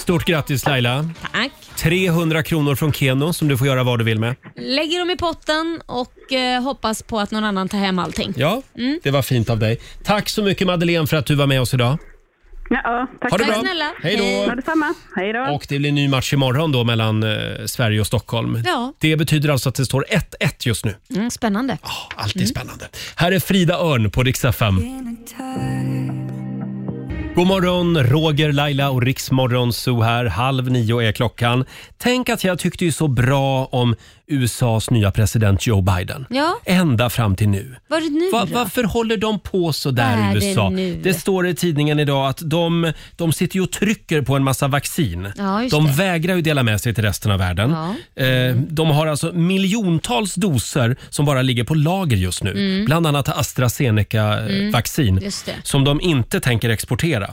Stort grattis Laila. Tack. 300 kronor från Keno som du får göra vad du vill med. Lägger dem i potten och eh, hoppas på att någon annan tar hem allting. Ja, Mm. det var fint av dig. Tack så mycket Madeleine för att du var med oss idag. Ja, tack Ha det så bra. mycket. Snälla. Hej då. Hej. Ja, detsamma. Hej då. Och det blir en ny match imorgon då mellan eh, Sverige och Stockholm. Ja. Det betyder alltså att det står 1-1 just nu. Mm, spännande. Mm. Alltid spännande. Här är Frida Örn på Rix FM. God morgon, Roger, Laila och Riksmorgon Zoo här. Halv nio är klockan. Tänk att jag tyckte ju så bra om USAs nya president Joe Biden. Mm. Ja, Ända fram till nu. vad är det nu Va, då? varför håller de på så där Vad i Mm. är det USA? nu? Det står i tidningen idag att de, de sitter ju och trycker på en massa vaccin. Ja, just de det. vägrar ju dela med sig till resten av världen. Ja. Eh, de har alltså miljontals doser som bara ligger på lager just nu. Mm. Bland annat eh, Mm, AstraZeneca-vaccin just det. Mm. som de inte tänker exportera.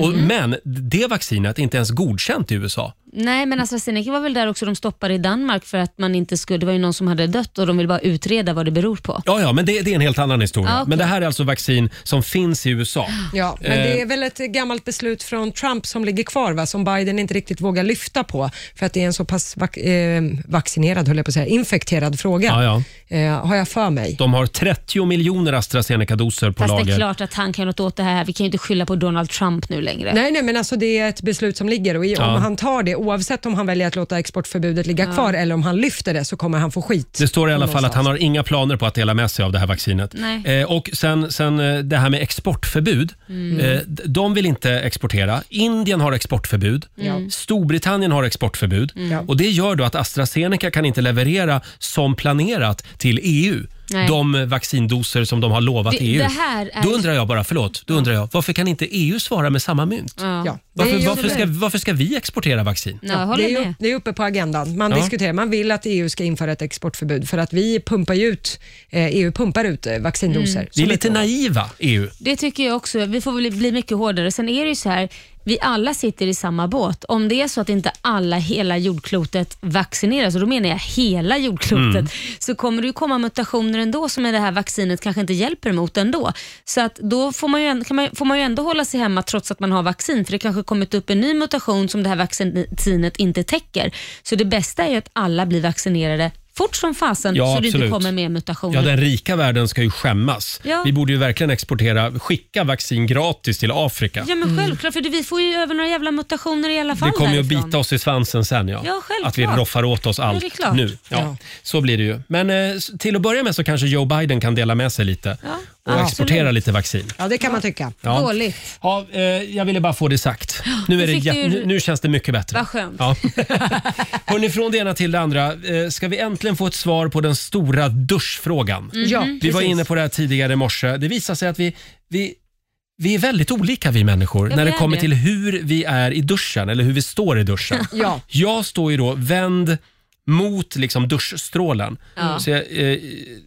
Och, men det vaccinet är inte ens godkänt i USA. Nej, men AstraZeneca var väl där också de stoppade i Danmark för att man inte skulle, det var ju någon som hade dött och de ville bara utreda vad det beror på. Ja, ja, men det, det är en helt annan historia. Ja, okej. Men det här är alltså vaccin som finns i USA. Ja, men det Eh. är väl ett gammalt beslut från Trump som ligger kvar, va? som Biden inte riktigt vågar lyfta på, för att det är en så pass vac- eh, vaccinerad, höll jag på att säga, infekterad fråga. Ja, Eh, har jag för mig. De har 30 miljoner AstraZeneca-doser på Fast det är lager. klart att han kan göra något åt det här. Vi kan ju inte skylla på Donald Trump nu längre. Nej, nej, men alltså det är ett beslut som ligger och i, Ja. om han tar det, oavsett om han väljer att låta exportförbudet ligga Ja. kvar eller om han lyfter det, så kommer han få skit. Det står i alla fall att han har inga planer på att dela med sig av det här vaccinet. Nej. Eh, och sen, sen eh, det här med exportförbud. Mm. Eh, d- de vill inte exportera. Indien har exportförbud. Mm. Storbritannien har exportförbud. Mm. Ja. Och Det gör då att AstraZeneca kan inte leverera som planerat till EU. Nej. De vaccindoser som de har lovat Det- EU. det här är- Då undrar jag bara, förlåt, då undrar jag, varför kan inte EU svara med samma mynt? Ja. Det är Varför, ju- varför, ska, varför ska vi exportera vaccin? Ja, jag håller det, är ju, med. det är uppe på agendan. Man Ja. diskuterar, man vill att EU ska införa ett exportförbud för att vi pumpar ju ut, eh, EU pumpar ut eh, vaccindoser. Mm. Vi är lite naiva, E EU. Det tycker jag också. Vi får väl bli mycket hårdare. Sen är det ju så här, vi alla sitter i samma båt. Om det är så att inte alla hela jordklotet vaccineras, och då menar jag hela jordklotet, Mm. så kommer det ju komma mutationer ändå som är det här vaccinet kanske inte hjälper mot ändå. Så att då får man, ju, ändå- kan man, får man ju ändå hålla sig hemma trots att man har vaccin, för det kanske kommit upp en ny mutation som det här vaccinet inte täcker. Så det bästa är ju att alla blir vaccinerade fort som fasen Ja, så det absolut. inte kommer mer mutationer. Ja, den rika världen ska ju skämmas. Ja. Vi borde ju verkligen exportera, skicka vaccin gratis till Afrika. Ja, men självklart, för det- vi får ju över några jävla mutationer i alla fall. Det kommer ju att därifrån. bita oss i svansen sen ja. Ja, självklart. att vi roffar åt oss Ja, allt det är klart. nu. Ja, Ja. Så blir det ju. Men eh, s- till att börja med så kanske Joe Biden kan dela med sig lite och absolut. exportera lite vaccin. Ja, det kan man tycka. Ja. Dåligt. Ja, eh, jag ville bara få det sagt. Nu, är det fick jä- du ju- nu, nu känns det mycket bättre. Vad skönt. Ja. Hörrni, från det ena till det andra. Eh, Ska vi äntligen få ett svar på den stora duschfrågan? Mhm. Ja, vi var precis. inne på det här tidigare i morse. Det visar sig att vi, vi, vi är väldigt olika vi människor Ja, när vi det är kommer det. till hur vi är i duschen eller hur vi står i duschen. Ja. Jag står ju då vänd mot liksom duschstrålen. Ja. Så jag, eh, jag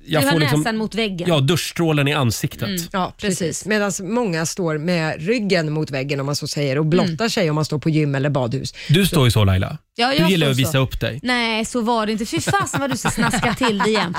du får har liksom, näsan mot väggen. Mm. Ja, duschstrålen i ansiktet. Ja, precis. Medan många står med ryggen mot väggen om man så säger och blottar Mm. sig om man står på gym eller badhus. Du står ju så Laila. Ja, du jag gillar står att visa så. upp dig. Nej, så var det inte. Fy fasen vad du ska snaska till det igen.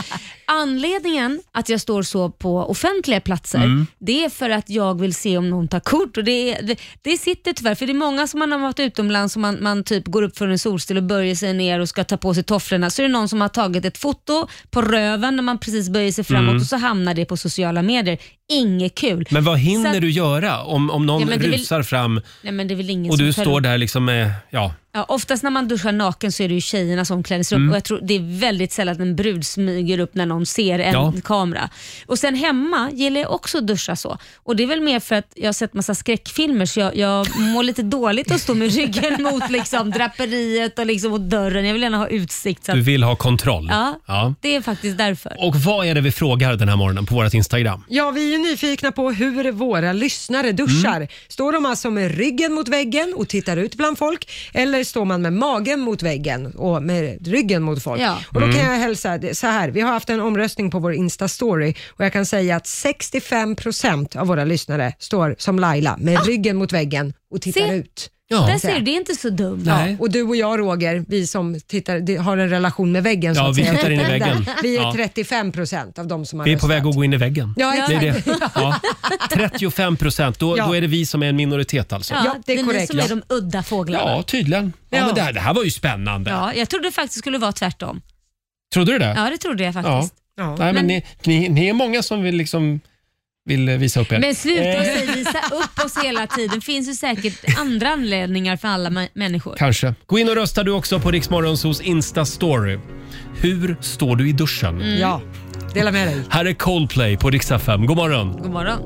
Anledningen att jag står så på offentliga platser, Mm. det är för att jag vill se om någon tar kort. Och det, är- det, det sitter tyvärr, för det är många som man har varit utomlands och man, man typ går upp för en solstol och böjer sig ner och ska ta på sig tofflorna. Så är det någon som har tagit ett foto på röven när man precis böjer sig framåt Mm. och så hamnar det på sociala medier. Inget kul. Men vad hinner Så att- du göra om, om någon Ja, men det är väl- rusar fram Nej, men det är väl ingen och som du tar står upp- där liksom med, ja. Ja, oftast när man duschar naken så är det ju tjejernas omklädningsrum Mm. och jag tror det är väldigt sällan att en brud smyger upp när någon ser en Ja. kamera. Och sen hemma gillar jag också att duscha så. Och det är väl mer för att jag har sett massa skräckfilmer så jag, jag mår lite dåligt att stå med ryggen mot liksom, draperiet och, liksom, och dörren. Jag vill gärna ha utsikt. Så att, Du vill ha kontroll. Ja. Ja. Det är faktiskt därför. Och vad är det vi frågar den här morgonen på vårt Instagram? Ja, vi är ju nyfikna på hur våra lyssnare duschar. Mm. Står de alltså med ryggen mot väggen och tittar ut bland folk eller står man med magen mot väggen och med ryggen mot folk? Ja. Och då kan Mm. jag hälsa det- så här, vi har haft en omröstning på vår Insta-story och jag kan säga att 65% av våra lyssnare står som Laila Ah! med ryggen mot väggen och tittar ut. Ja. Där ser du, det är inte så dumt. Ja, och du och jag Roger, vi som tittar, det- har en relation med väggen. Ja, så att vi säga. tittar in i Där. väggen. Vi är Ja. 35% av de som har Vi är på röstat. väg att gå in i väggen. Ja, Det är exakt. det. Ja. 35 procent, då, Ja. då är det vi som är en minoritet alltså. Ja, det är, ni som är Ja. de udda fåglarna. Ja, tydligen. Ja, Ja. Men det, här, det här var ju spännande. Ja, jag trodde faktiskt det skulle vara tvärtom. Trodde du det? Ja, det trodde jag faktiskt. Ja. Nej, Men- men Ni, ni, ni är många som vill, liksom, vill eh, visa upp er. Men sluta Eh, och säg visa upp oss hela tiden. finns ju säkert andra anledningar för alla ma- människor. Kanske. Gå in och rösta du också på Riksmorgonsos Insta-story. Hur står du i duschen? Mm. Ja, dela med dig. Här är Coldplay på Rix FM. God morgon! God morgon.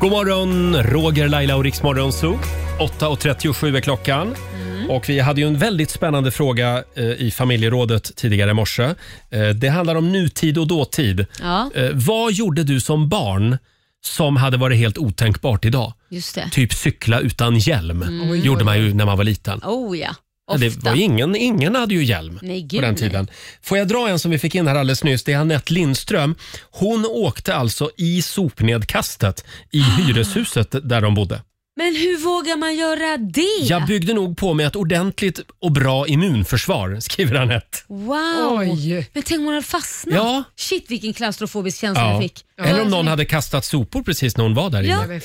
God morgon, Roger, Laila och Riksmorgonso. 8.37 är klockan. Mm. Och vi hade ju en väldigt spännande fråga eh, i familjerådet tidigare i morse. Eh, det handlar om nutid och dåtid. Ja. Eh, vad gjorde du som barn som hade varit helt otänkbart idag? Just det. Typ cykla utan hjälm Mm. Oj, gjorde oj, man ju när man var liten. Oh ja. Ja, Ofta. Det var ju ingen, ingen hade ju hjälm Nej, gud, på den nej. tiden. Får jag dra en som vi fick in här alldeles nyss? Det är Anette Lindström. Hon åkte alltså i sopnedkastet i Ah. hyreshuset där de bodde. Men hur vågar man göra det? Jag byggde nog på mig ett ordentligt och bra immunförsvar, skriver Anette. Wow. Oj. Men tänk om man hade fastnat. Ja. Shit vilken klaustrofobisk känsla jag Ja. fick. Eller om någon hade kastat sopor precis när hon var där Ja. inne.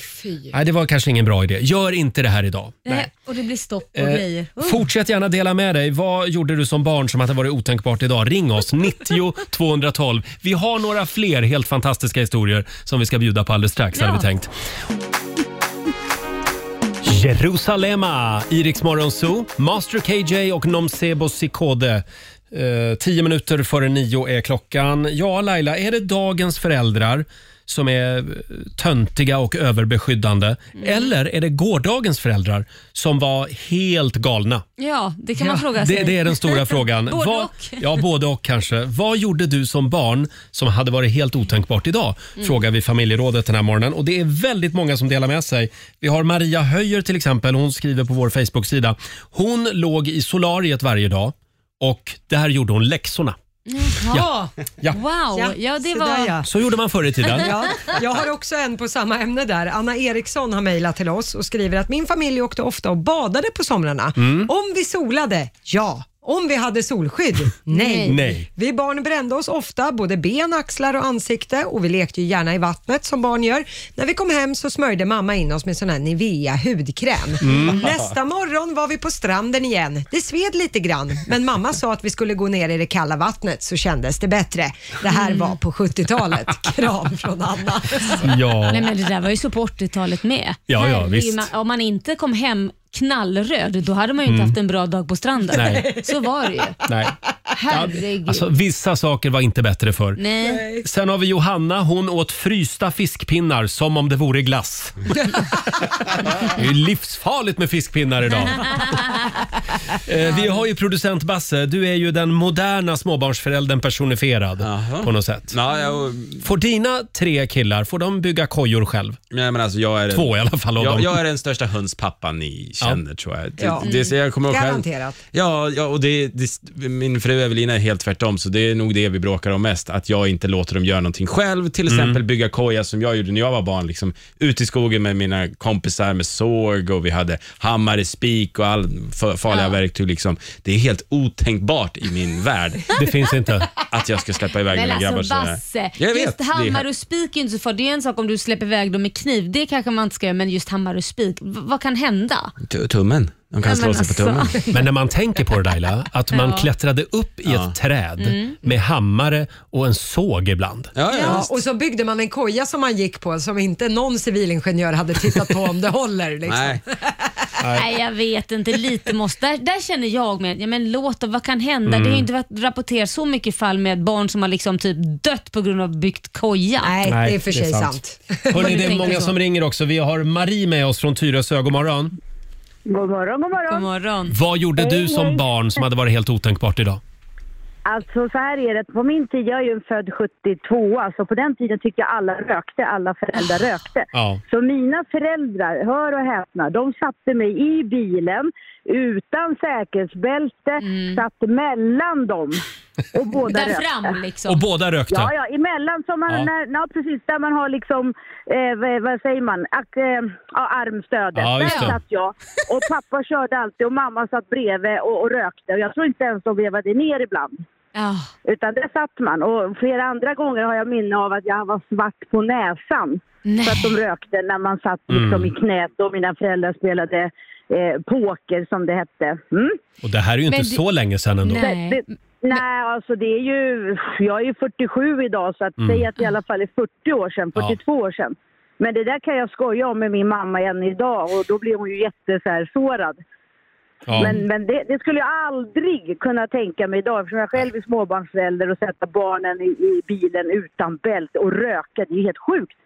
Nej, det var kanske ingen bra idé. Gör inte det här idag. Nej. Och det blir stopp och Eh, grejer. Oh. Fortsätt gärna dela med dig. Vad gjorde du som barn som hade varit otänkbart idag? Ring oss, 90 212. Vi har några fler helt fantastiska historier som vi ska bjuda på alldeles strax, hade vi tänkt. Jerusalema, Iriks Zoo, Master KJ och Nomsebo Sikode. Eh, tio minuter före nio är klockan. Ja, Laila, är det dagens föräldrar som är eh, töntiga och överbeskyddande? Eller är det gårdagens föräldrar som var helt galna? Ja, det kan man fråga sig. Det, det är den stora frågan. Både Vad- och. Ja, både och kanske. Vad gjorde du som barn som hade varit helt otänkbart idag? Mm. Frågar vi familjerådet den här morgonen. Och det är väldigt många som delar med sig. Vi har Maria Höjer till exempel. Hon skriver på vår Facebook-sida. Hon låg i solariet varje dag och där gjorde hon läxorna. Mm. Jaha. Ja. Wow, ja, det så var... där, ja. Så gjorde man förr i tiden. Ja, jag har också en på samma ämne där. Anna Eriksson har mejlat till oss och skriver att min familj åkte ofta och badade på somrarna. Mm. Om vi solade, ja. Om vi hade solskydd? Nej. Nej. Vi barn brände oss ofta, både ben, axlar och ansikte och vi lekte ju gärna i vattnet som barn gör. När vi kom hem så smörjde mamma in oss med sån här Nivea hudkräm. Mm. Nästa morgon var vi på stranden igen. Det sved lite grann, men mamma sa att vi skulle gå ner i det kalla vattnet så kändes det bättre. Det här var på 70-talet. Kram från Anna. Ja. Nej, men det där var ju så på 80-talet med. Ja, ja, Herregud, visst. man- Om man inte kom hem knallröd, då hade man ju inte Mm. haft en bra dag på stranden. Nej. Så var det ju. Nej. Herregud. Alltså, vissa saker var inte bättre förr. Nej. Sen har vi Johanna. Hon åt frysta fiskpinnar som om det vore glass. det är ju livsfarligt med fiskpinnar idag. Eh, vi har ju producent Basse. Du är ju den moderna småbarnsföräldern personifierad på något sätt. Ja, jag... Får dina tre killar, får de bygga kojor själv? Nej, men alltså jag är Två i alla fall av jag, dem. jag är den största hönspappan ni känner tror jag. Det, Ja. det, så jag kommer ihåg själv. Garanterat. Ja, ja och det, det, min fru Evelina är helt tvärtom, så det är nog det vi bråkar om mest. Att jag inte låter dem göra någonting själv. Till Mm. exempel bygga koja som jag gjorde när jag var barn. Liksom, ute i skogen med mina kompisar med såg och vi hade hammare, spik och all fa- farliga verktyg. Liksom. Det är helt otänkbart i min värld. Det finns inte. Att jag ska släppa iväg Men mina grabbar alltså sådär. Basse, Jag vet, just det är- hammare och spik är ju inte så farligt. Det är en sak om du släpper iväg dem med kniv, det kanske man inte ska göra, men just hammare och spik, v- vad kan hända? T- Tummen. De kan Nej, slå men sig på tummen. alltså. Men när man tänker på det Laila, att man Ja. klättrade upp i ett träd Mm. med hammare och en såg ibland. Ja, och så byggde man en koja som man gick på som inte någon civilingenjör hade tittat på om det håller. Liksom. Nej. Nej, jag vet inte. Lite måste... Där, där känner jag med, ja, men låt dem, vad kan hända? Mm. Det har ju inte varit rapporterat så mycket fall med barn som har liksom typ dött på grund av byggt koja. Nej, Hörrni, det är många som ringer också. Vi har Marie med oss från Tyresö. God morgon. God morgon, god morgon. Vad gjorde Hej, du som hej. barn som hade varit helt otänkbart idag? Alltså så här är det, på min tid, jag är ju en född 72, så på den tiden tyckte jag alla rökte, alla föräldrar Ah. rökte. Ja. Så mina föräldrar, hör och häpna, de satte mig i bilen utan säkerhetsbälte, satt mellan dem. Och båda Mm. Där rökte. fram, liksom. Och båda rökte? Ja, ja, emellan som man, Ja. När, ja, precis, där man har liksom, eh, vad, vad säger man, Ak, eh, ja, armstödet. Ja, där just det. satt jag. Och pappa körde alltid och mamma satt bredvid och, och rökte. Och jag tror inte ens de vevade ner ibland. Utan där satt man. Och flera andra gånger har jag minne av att jag var svart på näsan. För att de rökte när man satt liksom Mm. i knät och mina föräldrar spelade eh, poker som det hette. Mm? Och det här är ju inte Men det- så länge sedan ändå. Nej. Det, nej, alltså det är ju... Jag är ju 47 idag, så att Mm. säga att det i alla fall är 40 år sedan, 42 år sedan. Men det där kan jag skoja om med min mamma än idag och då blir hon ju jätte så här, sårad. Ja. Men, men det, det skulle jag aldrig kunna tänka mig idag eftersom jag själv är småbarnsförälder och sätta barnen i, i bilen utan bälte och röka, det är ju helt sjukt.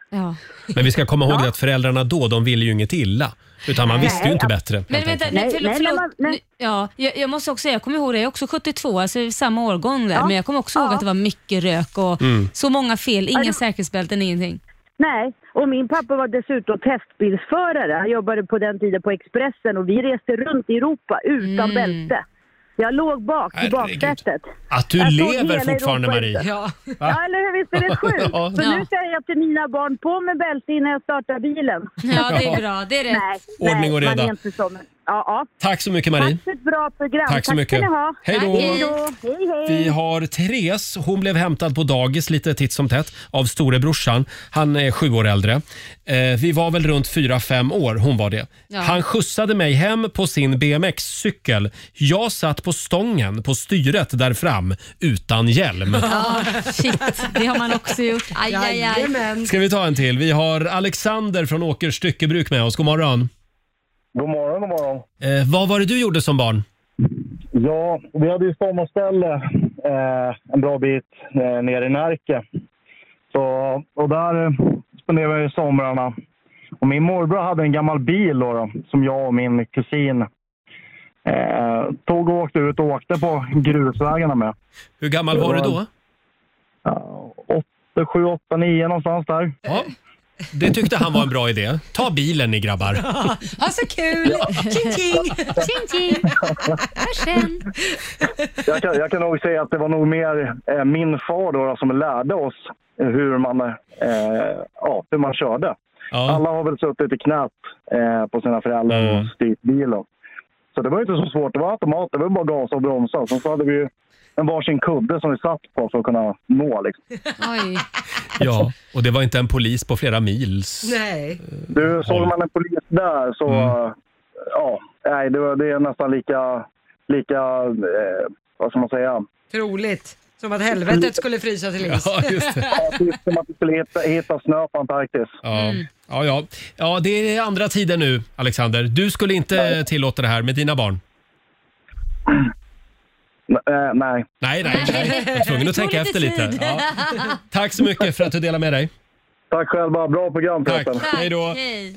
Men vi ska komma ihåg det att föräldrarna då, de ville ju inget illa. Utan man Nej. visste ju inte bättre. Men helt vänta, enkelt. nej, förlåt. nej, förlåt. när man- nej. Nu- Ja, jag, jag måste också säga, jag kommer ihåg det, jag är också 72, alltså vi är samma årgång där, men jag kommer också ihåg att det var mycket rök och Mm. så många fel, inga Ja, det- säkerhetsbälten, ingenting. Nej, och min pappa var dessutom testbilsförare. Han jobbade på den tiden på Expressen och vi reste runt i Europa utan Mm. bälte. Jag låg bak i baksätet. Att du Jag såg lever hela fortfarande, Europa Marie. ute. Ja. Va? eller hur? Visst är det sjukt? Ja. Så Ja. nu säger jag till mina barn, på med bälte innan jag startar bilen. Ja, det är bra. Det är rätt. Nej, Ordning och nej, Man reda. är inte så, men, ja, ja. Tack så mycket, Marie. Tack för ett bra program. Tack så mycket. ska ni ha. Hej då. Hej då. Hej, hej. Vi har Therese. Hon blev hämtad på dagis lite titt som tätt av storebrorsan. Han är sju år äldre. Eh, vi var väl runt fyra, fem år. Hon var det. Ja. Han skjutsade mig hem på sin BMX-cykel. Jag satt på stången på styret där fram utan hjälm. Ja, shit, det har man också gjort. Aj, aj, aj. Ska vi ta en till? Vi har Alexander från Åkers styckebruk med oss. God morgon. God morgon, god morgon. Eh, vad var det du gjorde som barn? Ja, vi hade ju sommarställe eh, en bra bit eh, ner i Närke. Så, och där eh, spenderade jag ju somrarna. Och min morbror hade en gammal bil då, då, som jag och min kusin eh, tog och åkte ut och åkte på grusvägarna med. Hur gammal var du då? Ja, åtta, sju, åtta, nio någonstans där. Ja. Det tyckte han var en bra idé. Ta bilen ni grabbar. Ha så kul! Tjing tjing! Tjing tjing! Hörs sen! Jag kan, jag kan nog säga att det var nog mer eh, min far då, då, som lärde oss hur man, eh, ja, hur man körde. Alla har väl suttit i knät eh, på sina föräldrar och styrt bilen. Så det var ju inte så svårt. Det var automat. Det var bara gasa och bromsa. Sen så hade vi ju en varsin kudde som vi satt på för att kunna nå. Liksom. Oj. Ja, och det var inte en polis på flera mils. Nej. Du, såg man en polis där så... Ja, nej, det, var, det är nästan lika... lika eh, vad ska man säga? Troligt. Som att helvetet skulle frysa till is. Ja, just det. Ja, typ som att vi skulle hitta, hitta snö på Antarktis. Ja. Ja, ja. ja, det är andra tider nu, Alexander. Du skulle inte tillåta det här med dina barn. Eh, nej. Nej, nej, nej. Jag var tvungen att tänka efter lite. Ja. Tack så mycket för att du delade med dig. Tack själva. Bra program Tack. förresten. Hej då.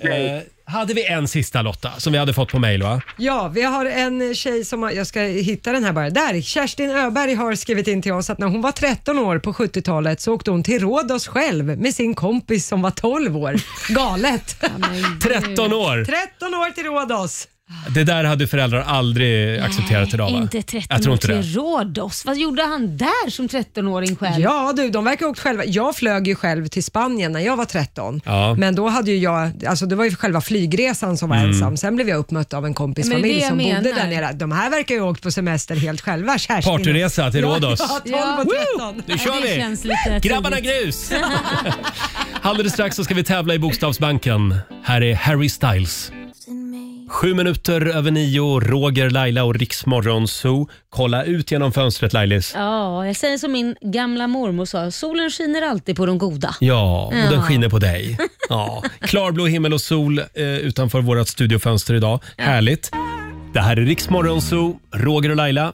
Hej. Eh, hade vi en sista Lotta som vi hade fått på mejl va? Ja, vi har en tjej som har, jag ska hitta den här bara. Där, Kerstin Öberg har skrivit in till oss att när hon var 13 år på 70-talet så åkte hon till Rhodos själv med sin kompis som var 12 år. Galet! Mm. 13 år. 13 år till Rhodos! Det där hade föräldrar aldrig Eh, accepterat idag va? Inte Jag 13 tror år inte det. till Rhodos. Vad gjorde han där som 13-åring själv? Ja du, de verkar ha åkt själva. Jag flög ju själv till Spanien när jag var 13. Ja. Men då hade ju jag, alltså det var ju själva flygresan som var Mm. ensam. Sen blev jag uppmött av en kompis Men det är familj det jag som bodde menar. där nere. De här verkar ju ha åkt på semester helt själva. Kerstin. Partyresa till Rhodos. Ja, ja, 12 och 13. Nu kör vi! Grabbarna grus! Alldeles strax så ska vi tävla i Bokstavsbanken. Här är Harry Styles. Sju minuter över nio, Roger, Laila och Riksmorgon Zoo. Kolla ut genom fönstret Lailis. Ja, jag säger som min gamla mormor sa, solen skiner alltid på de goda. Ja, och den Ja. skiner på dig. Ja. Klarblå himmel och sol eh, utanför vårt studiofönster idag. Härligt. Det här är Riksmorgon Zoo. Roger och Laila,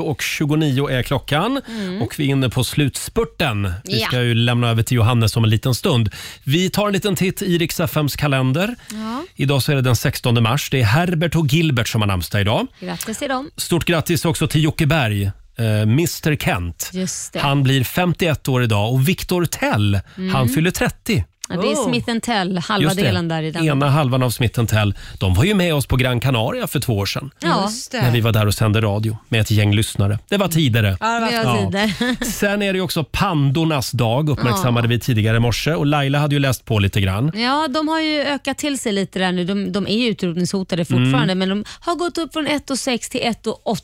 9.29 är klockan och vi är inne på slutspurten. Vi Mm. Ja. ska ju lämna över till Johannes om en liten stund. Vi tar en liten titt i Rix FMs kalender. Ja. Idag så är det den 16 mars. Det är Herbert och Gilbert som har namnsdag idag. Grattis till dem. Stort grattis också till Jocke Berg, eh, Mr Kent. Just det. Han blir 51 år idag och Viktor Tell, Mm. han fyller 30. ja, det är Oh. Smith Tell, halva Just det. delen där i den. Ena halvan av smitten Tell. De var ju med oss på Gran Canaria för två år sedan. Ja. Just det. När vi var där och sände radio med ett gäng lyssnare. Det var tidigare. Ja, det var tider. Sen är det ju också pandornas dag, uppmärksammade vi tidigare i morse. Och Laila hade ju läst på lite grann. Ja, de har ju ökat till sig lite där nu. De, de är ju utrotningshotade Mm. fortfarande, men de har gått upp från 1 och 6 till 1 och 8.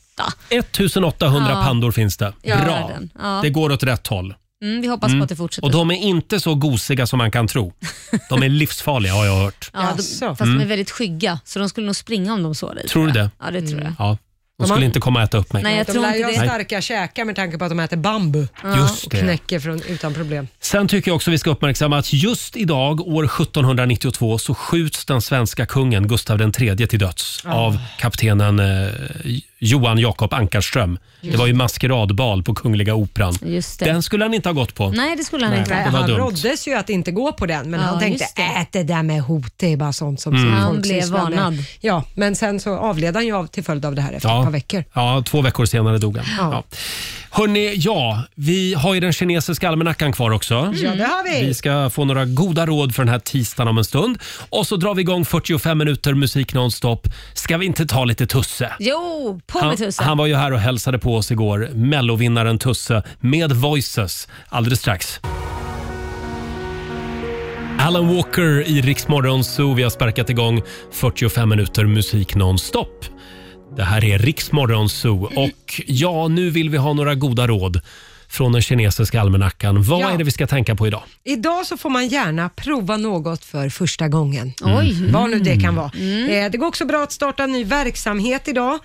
1800 Ja. pandor finns det. Ja, Bra! världen. Ja. Det går åt rätt håll. Mm, vi hoppas Mm. på att det fortsätter. Och de är inte så gosiga som man kan tro. De är livsfarliga har jag hört. ja, de, fast de är Mm. väldigt skygga, så de skulle nog springa om de såg dig. Tror du det? Ja, det tror jag. Ja. De De skulle har- inte komma och äta upp mig. de lär ju ha starka käkar med tanke på att de äter bambu Just och det. knäcker från, utan problem. Sen tycker jag också vi ska uppmärksamma att just idag, år 1792, så skjuts den svenska kungen Gustav III till döds Ah. av kaptenen eh, Johan Jakob Ankarström. Just Det var ju maskeradbal på Kungliga Operan. Just det. Den skulle han inte ha gått på. Nej, det skulle han Nej, inte. det var han dumt. råddes ju att inte gå på den, men Ja, han tänkte just det. ät det där med hot, det är bara sånt som Mm. mm. Han folk blev sysslar med." varnad. Ja, men sen så avled han ju av till följd av det här efter ett par veckor. Ja, två veckor senare dog han. Ja. Ja. Hörrni, ja, vi har ju den kinesiska almanackan kvar också. Mm. Ja, det har vi. Vi ska få några goda råd för den här tisdagen om en stund. Och så drar vi igång 45 minuter musik nonstop. Ska vi inte ta lite Tusse? Jo, på Han, med tusen. han var ju här och hälsade på oss igår, mellovinnaren Tusse med Voices alldeles strax. Alan Walker i Rix Morgon Zoo. Vi har sparkat igång 45 minuter musik nonstop. Det här är Rix Morgon Zoo och ja, nu vill vi ha några goda råd från den kinesiska almanackan. Vad Ja. är det vi ska tänka på idag? Idag så får man gärna prova något för första gången. Oj. Mm. Vad nu det kan vara. Mm. Eh, Det går också bra att starta en ny verksamhet idag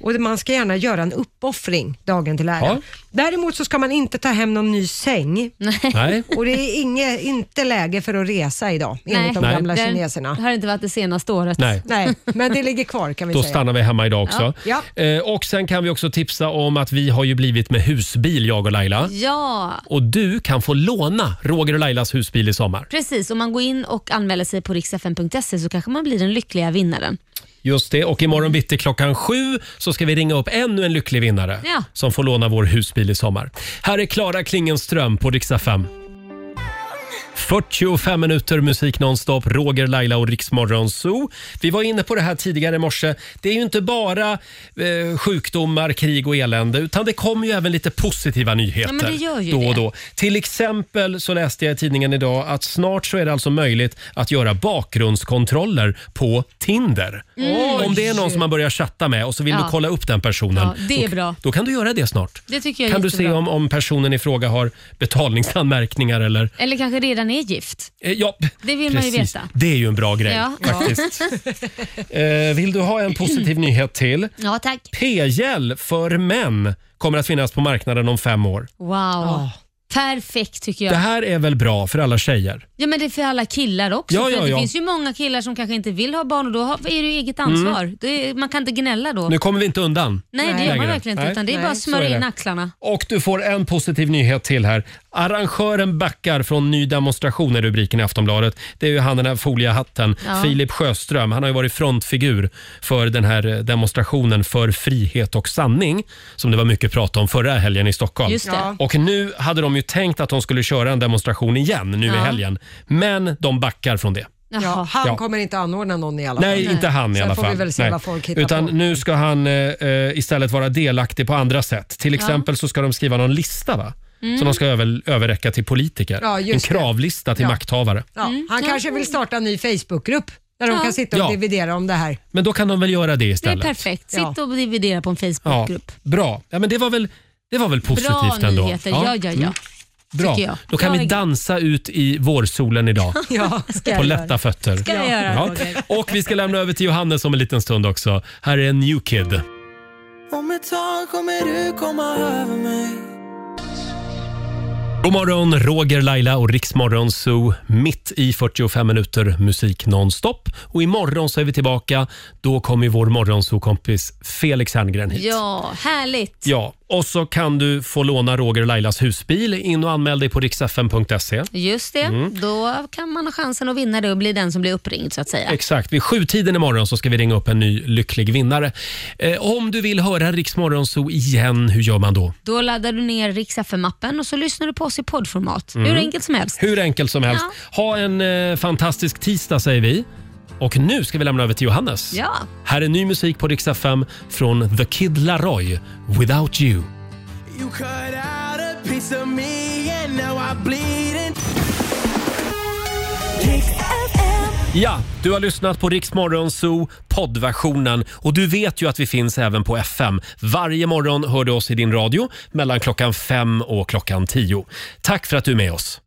och man ska gärna göra en uppoffring dagen till ära. Ja. Däremot så ska man inte ta hem någon ny säng Nej. och det är inge, inte läge för att resa idag enligt de Nej. gamla Nej. kineserna. Det har inte varit det senaste året. Nej. Nej, men det ligger kvar kan vi Då säga. stannar vi hemma idag också. Ja. Eh, Och sen kan vi också tipsa om att vi har ju blivit med husbil, jag och Laila. Ja, Och du kan få låna Roger och Lailas husbil i sommar. precis. Om man går in och anmäler sig på riksfn.se så kanske man blir den lyckliga vinnaren. Just det, och imorgon bitti klockan sju så ska vi ringa upp ännu en lycklig vinnare Ja. som får låna vår husbil i sommar. Här är Klara Klingenström på Riksa 5. 45 minuter musik nonstop, Roger, Laila och Riksmorgon Zoo. Vi var inne på det här tidigare i morse. Det är ju inte bara eh, sjukdomar, krig och elände utan det kommer ju även lite positiva nyheter Ja, men det gör ju då och det. då. Till exempel så läste jag i tidningen idag att snart så är det alltså möjligt att göra bakgrundskontroller på Tinder. Mm. Om det är någon som man börjar chatta med och så vill Ja. du kolla upp den personen. Ja, det är då, bra. Då kan du göra det snart. Det tycker jag är Kan du se jättebra. om, om personen i fråga har betalningsanmärkningar eller... Eller kanske redan är gift. Eh, ja, Det vill man ju precis. veta. Det är ju en bra grej Ja. faktiskt. Eh, vill du ha en positiv nyhet till? Ja, tack. P-gel för män kommer att finnas på marknaden om fem år. Wow. Perfekt tycker jag. Ah. Det här är väl bra för alla tjejer? Ja men det är för alla killar också. Ja, för ja, att det ja. finns ju många killar som kanske inte vill ha barn och då har- är det ju eget ansvar. Mm. Det är, man kan inte gnälla då. Nu kommer vi inte undan. Nej, det gör man längre. verkligen inte. Nej. Utan det är Nej. bara att Så smörja är in det. axlarna. Och du får en positiv nyhet till här. Arrangören backar från ny demonstration är rubriken i Aftonbladet. Det är ju han den här foliehatten, Ja. Filip Sjöström. Han har ju varit frontfigur för den här eh, demonstrationen för frihet och sanning som det var mycket prat om förra helgen i Stockholm. Just det. Ja. Och nu hade de ju tänkt att de skulle köra en demonstration igen nu Ja. i helgen. Men de backar från det. Ja, han Ja. kommer inte anordna någon i alla fall. Nej, inte han i Sen alla fall. får vi väl se Nej. vad folk hittar Utan på. nu ska han eh, eh, istället vara delaktig på andra sätt. Till Ja. exempel så ska de skriva någon lista va? Mm. som de ska över, överräcka till politiker. Ja, en just det. kravlista till Ja. makthavare. Ja, han kanske vill starta en ny Facebookgrupp där de Ja. kan sitta och Ja. dividera om det här. Men då kan de väl göra det Det är istället? perfekt. Sitt Ja. och dividera på en ja. Facebookgrupp. Bra. Ja, men det, var väl, det var väl positivt Bra ändå? nyheter. Ja, ja, ja. Mm. Bra. Tycker jag. Då kan Jag vi är- dansa ut i vårsolen idag. Ja, ska jag På göra. lätta fötter. Ska jag göra, Roger. Och vi ska lämna över till Johannes om en liten stund också. Här är en New Kid. Om ett tag kommer du komma över mig God morgon, Roger, Laila och Riksmorgon Zoo. Mitt i 45 minuter musik nonstop. Och imorgon så är vi tillbaka. Då kommer vår morgonzoo-kompis Felix Herngren hit. Ja, härligt. Ja, och så kan du få låna Roger och Lailas husbil. In och anmäl dig på riksfn.se. Just det. Mm. Då kan man ha chansen att vinna det och bli den som blir uppringd så att säga. Exakt. Vid sjutiden imorgon så ska vi ringa upp en ny lycklig vinnare. Eh, om du vill höra Riksmorgon Zoo igen, hur gör man då? Då laddar du ner Rix FM-appen och så lyssnar du på oss i poddformat. Mm. Hur enkelt som helst. Hur enkelt som helst. Ha en eh, fantastisk tisdag säger vi. Och nu ska vi lämna över till Johannes. Ja. Här är ny musik på Rix FM från The Kid Laroi, Without You. You cut out a piece of me and now I bleed and Ja, du har lyssnat på Rix Morgon Zoo poddversionen och du vet ju att vi finns även på FM. Varje morgon hör du oss i din radio mellan klockan fem och klockan tio. Tack för att du är med oss.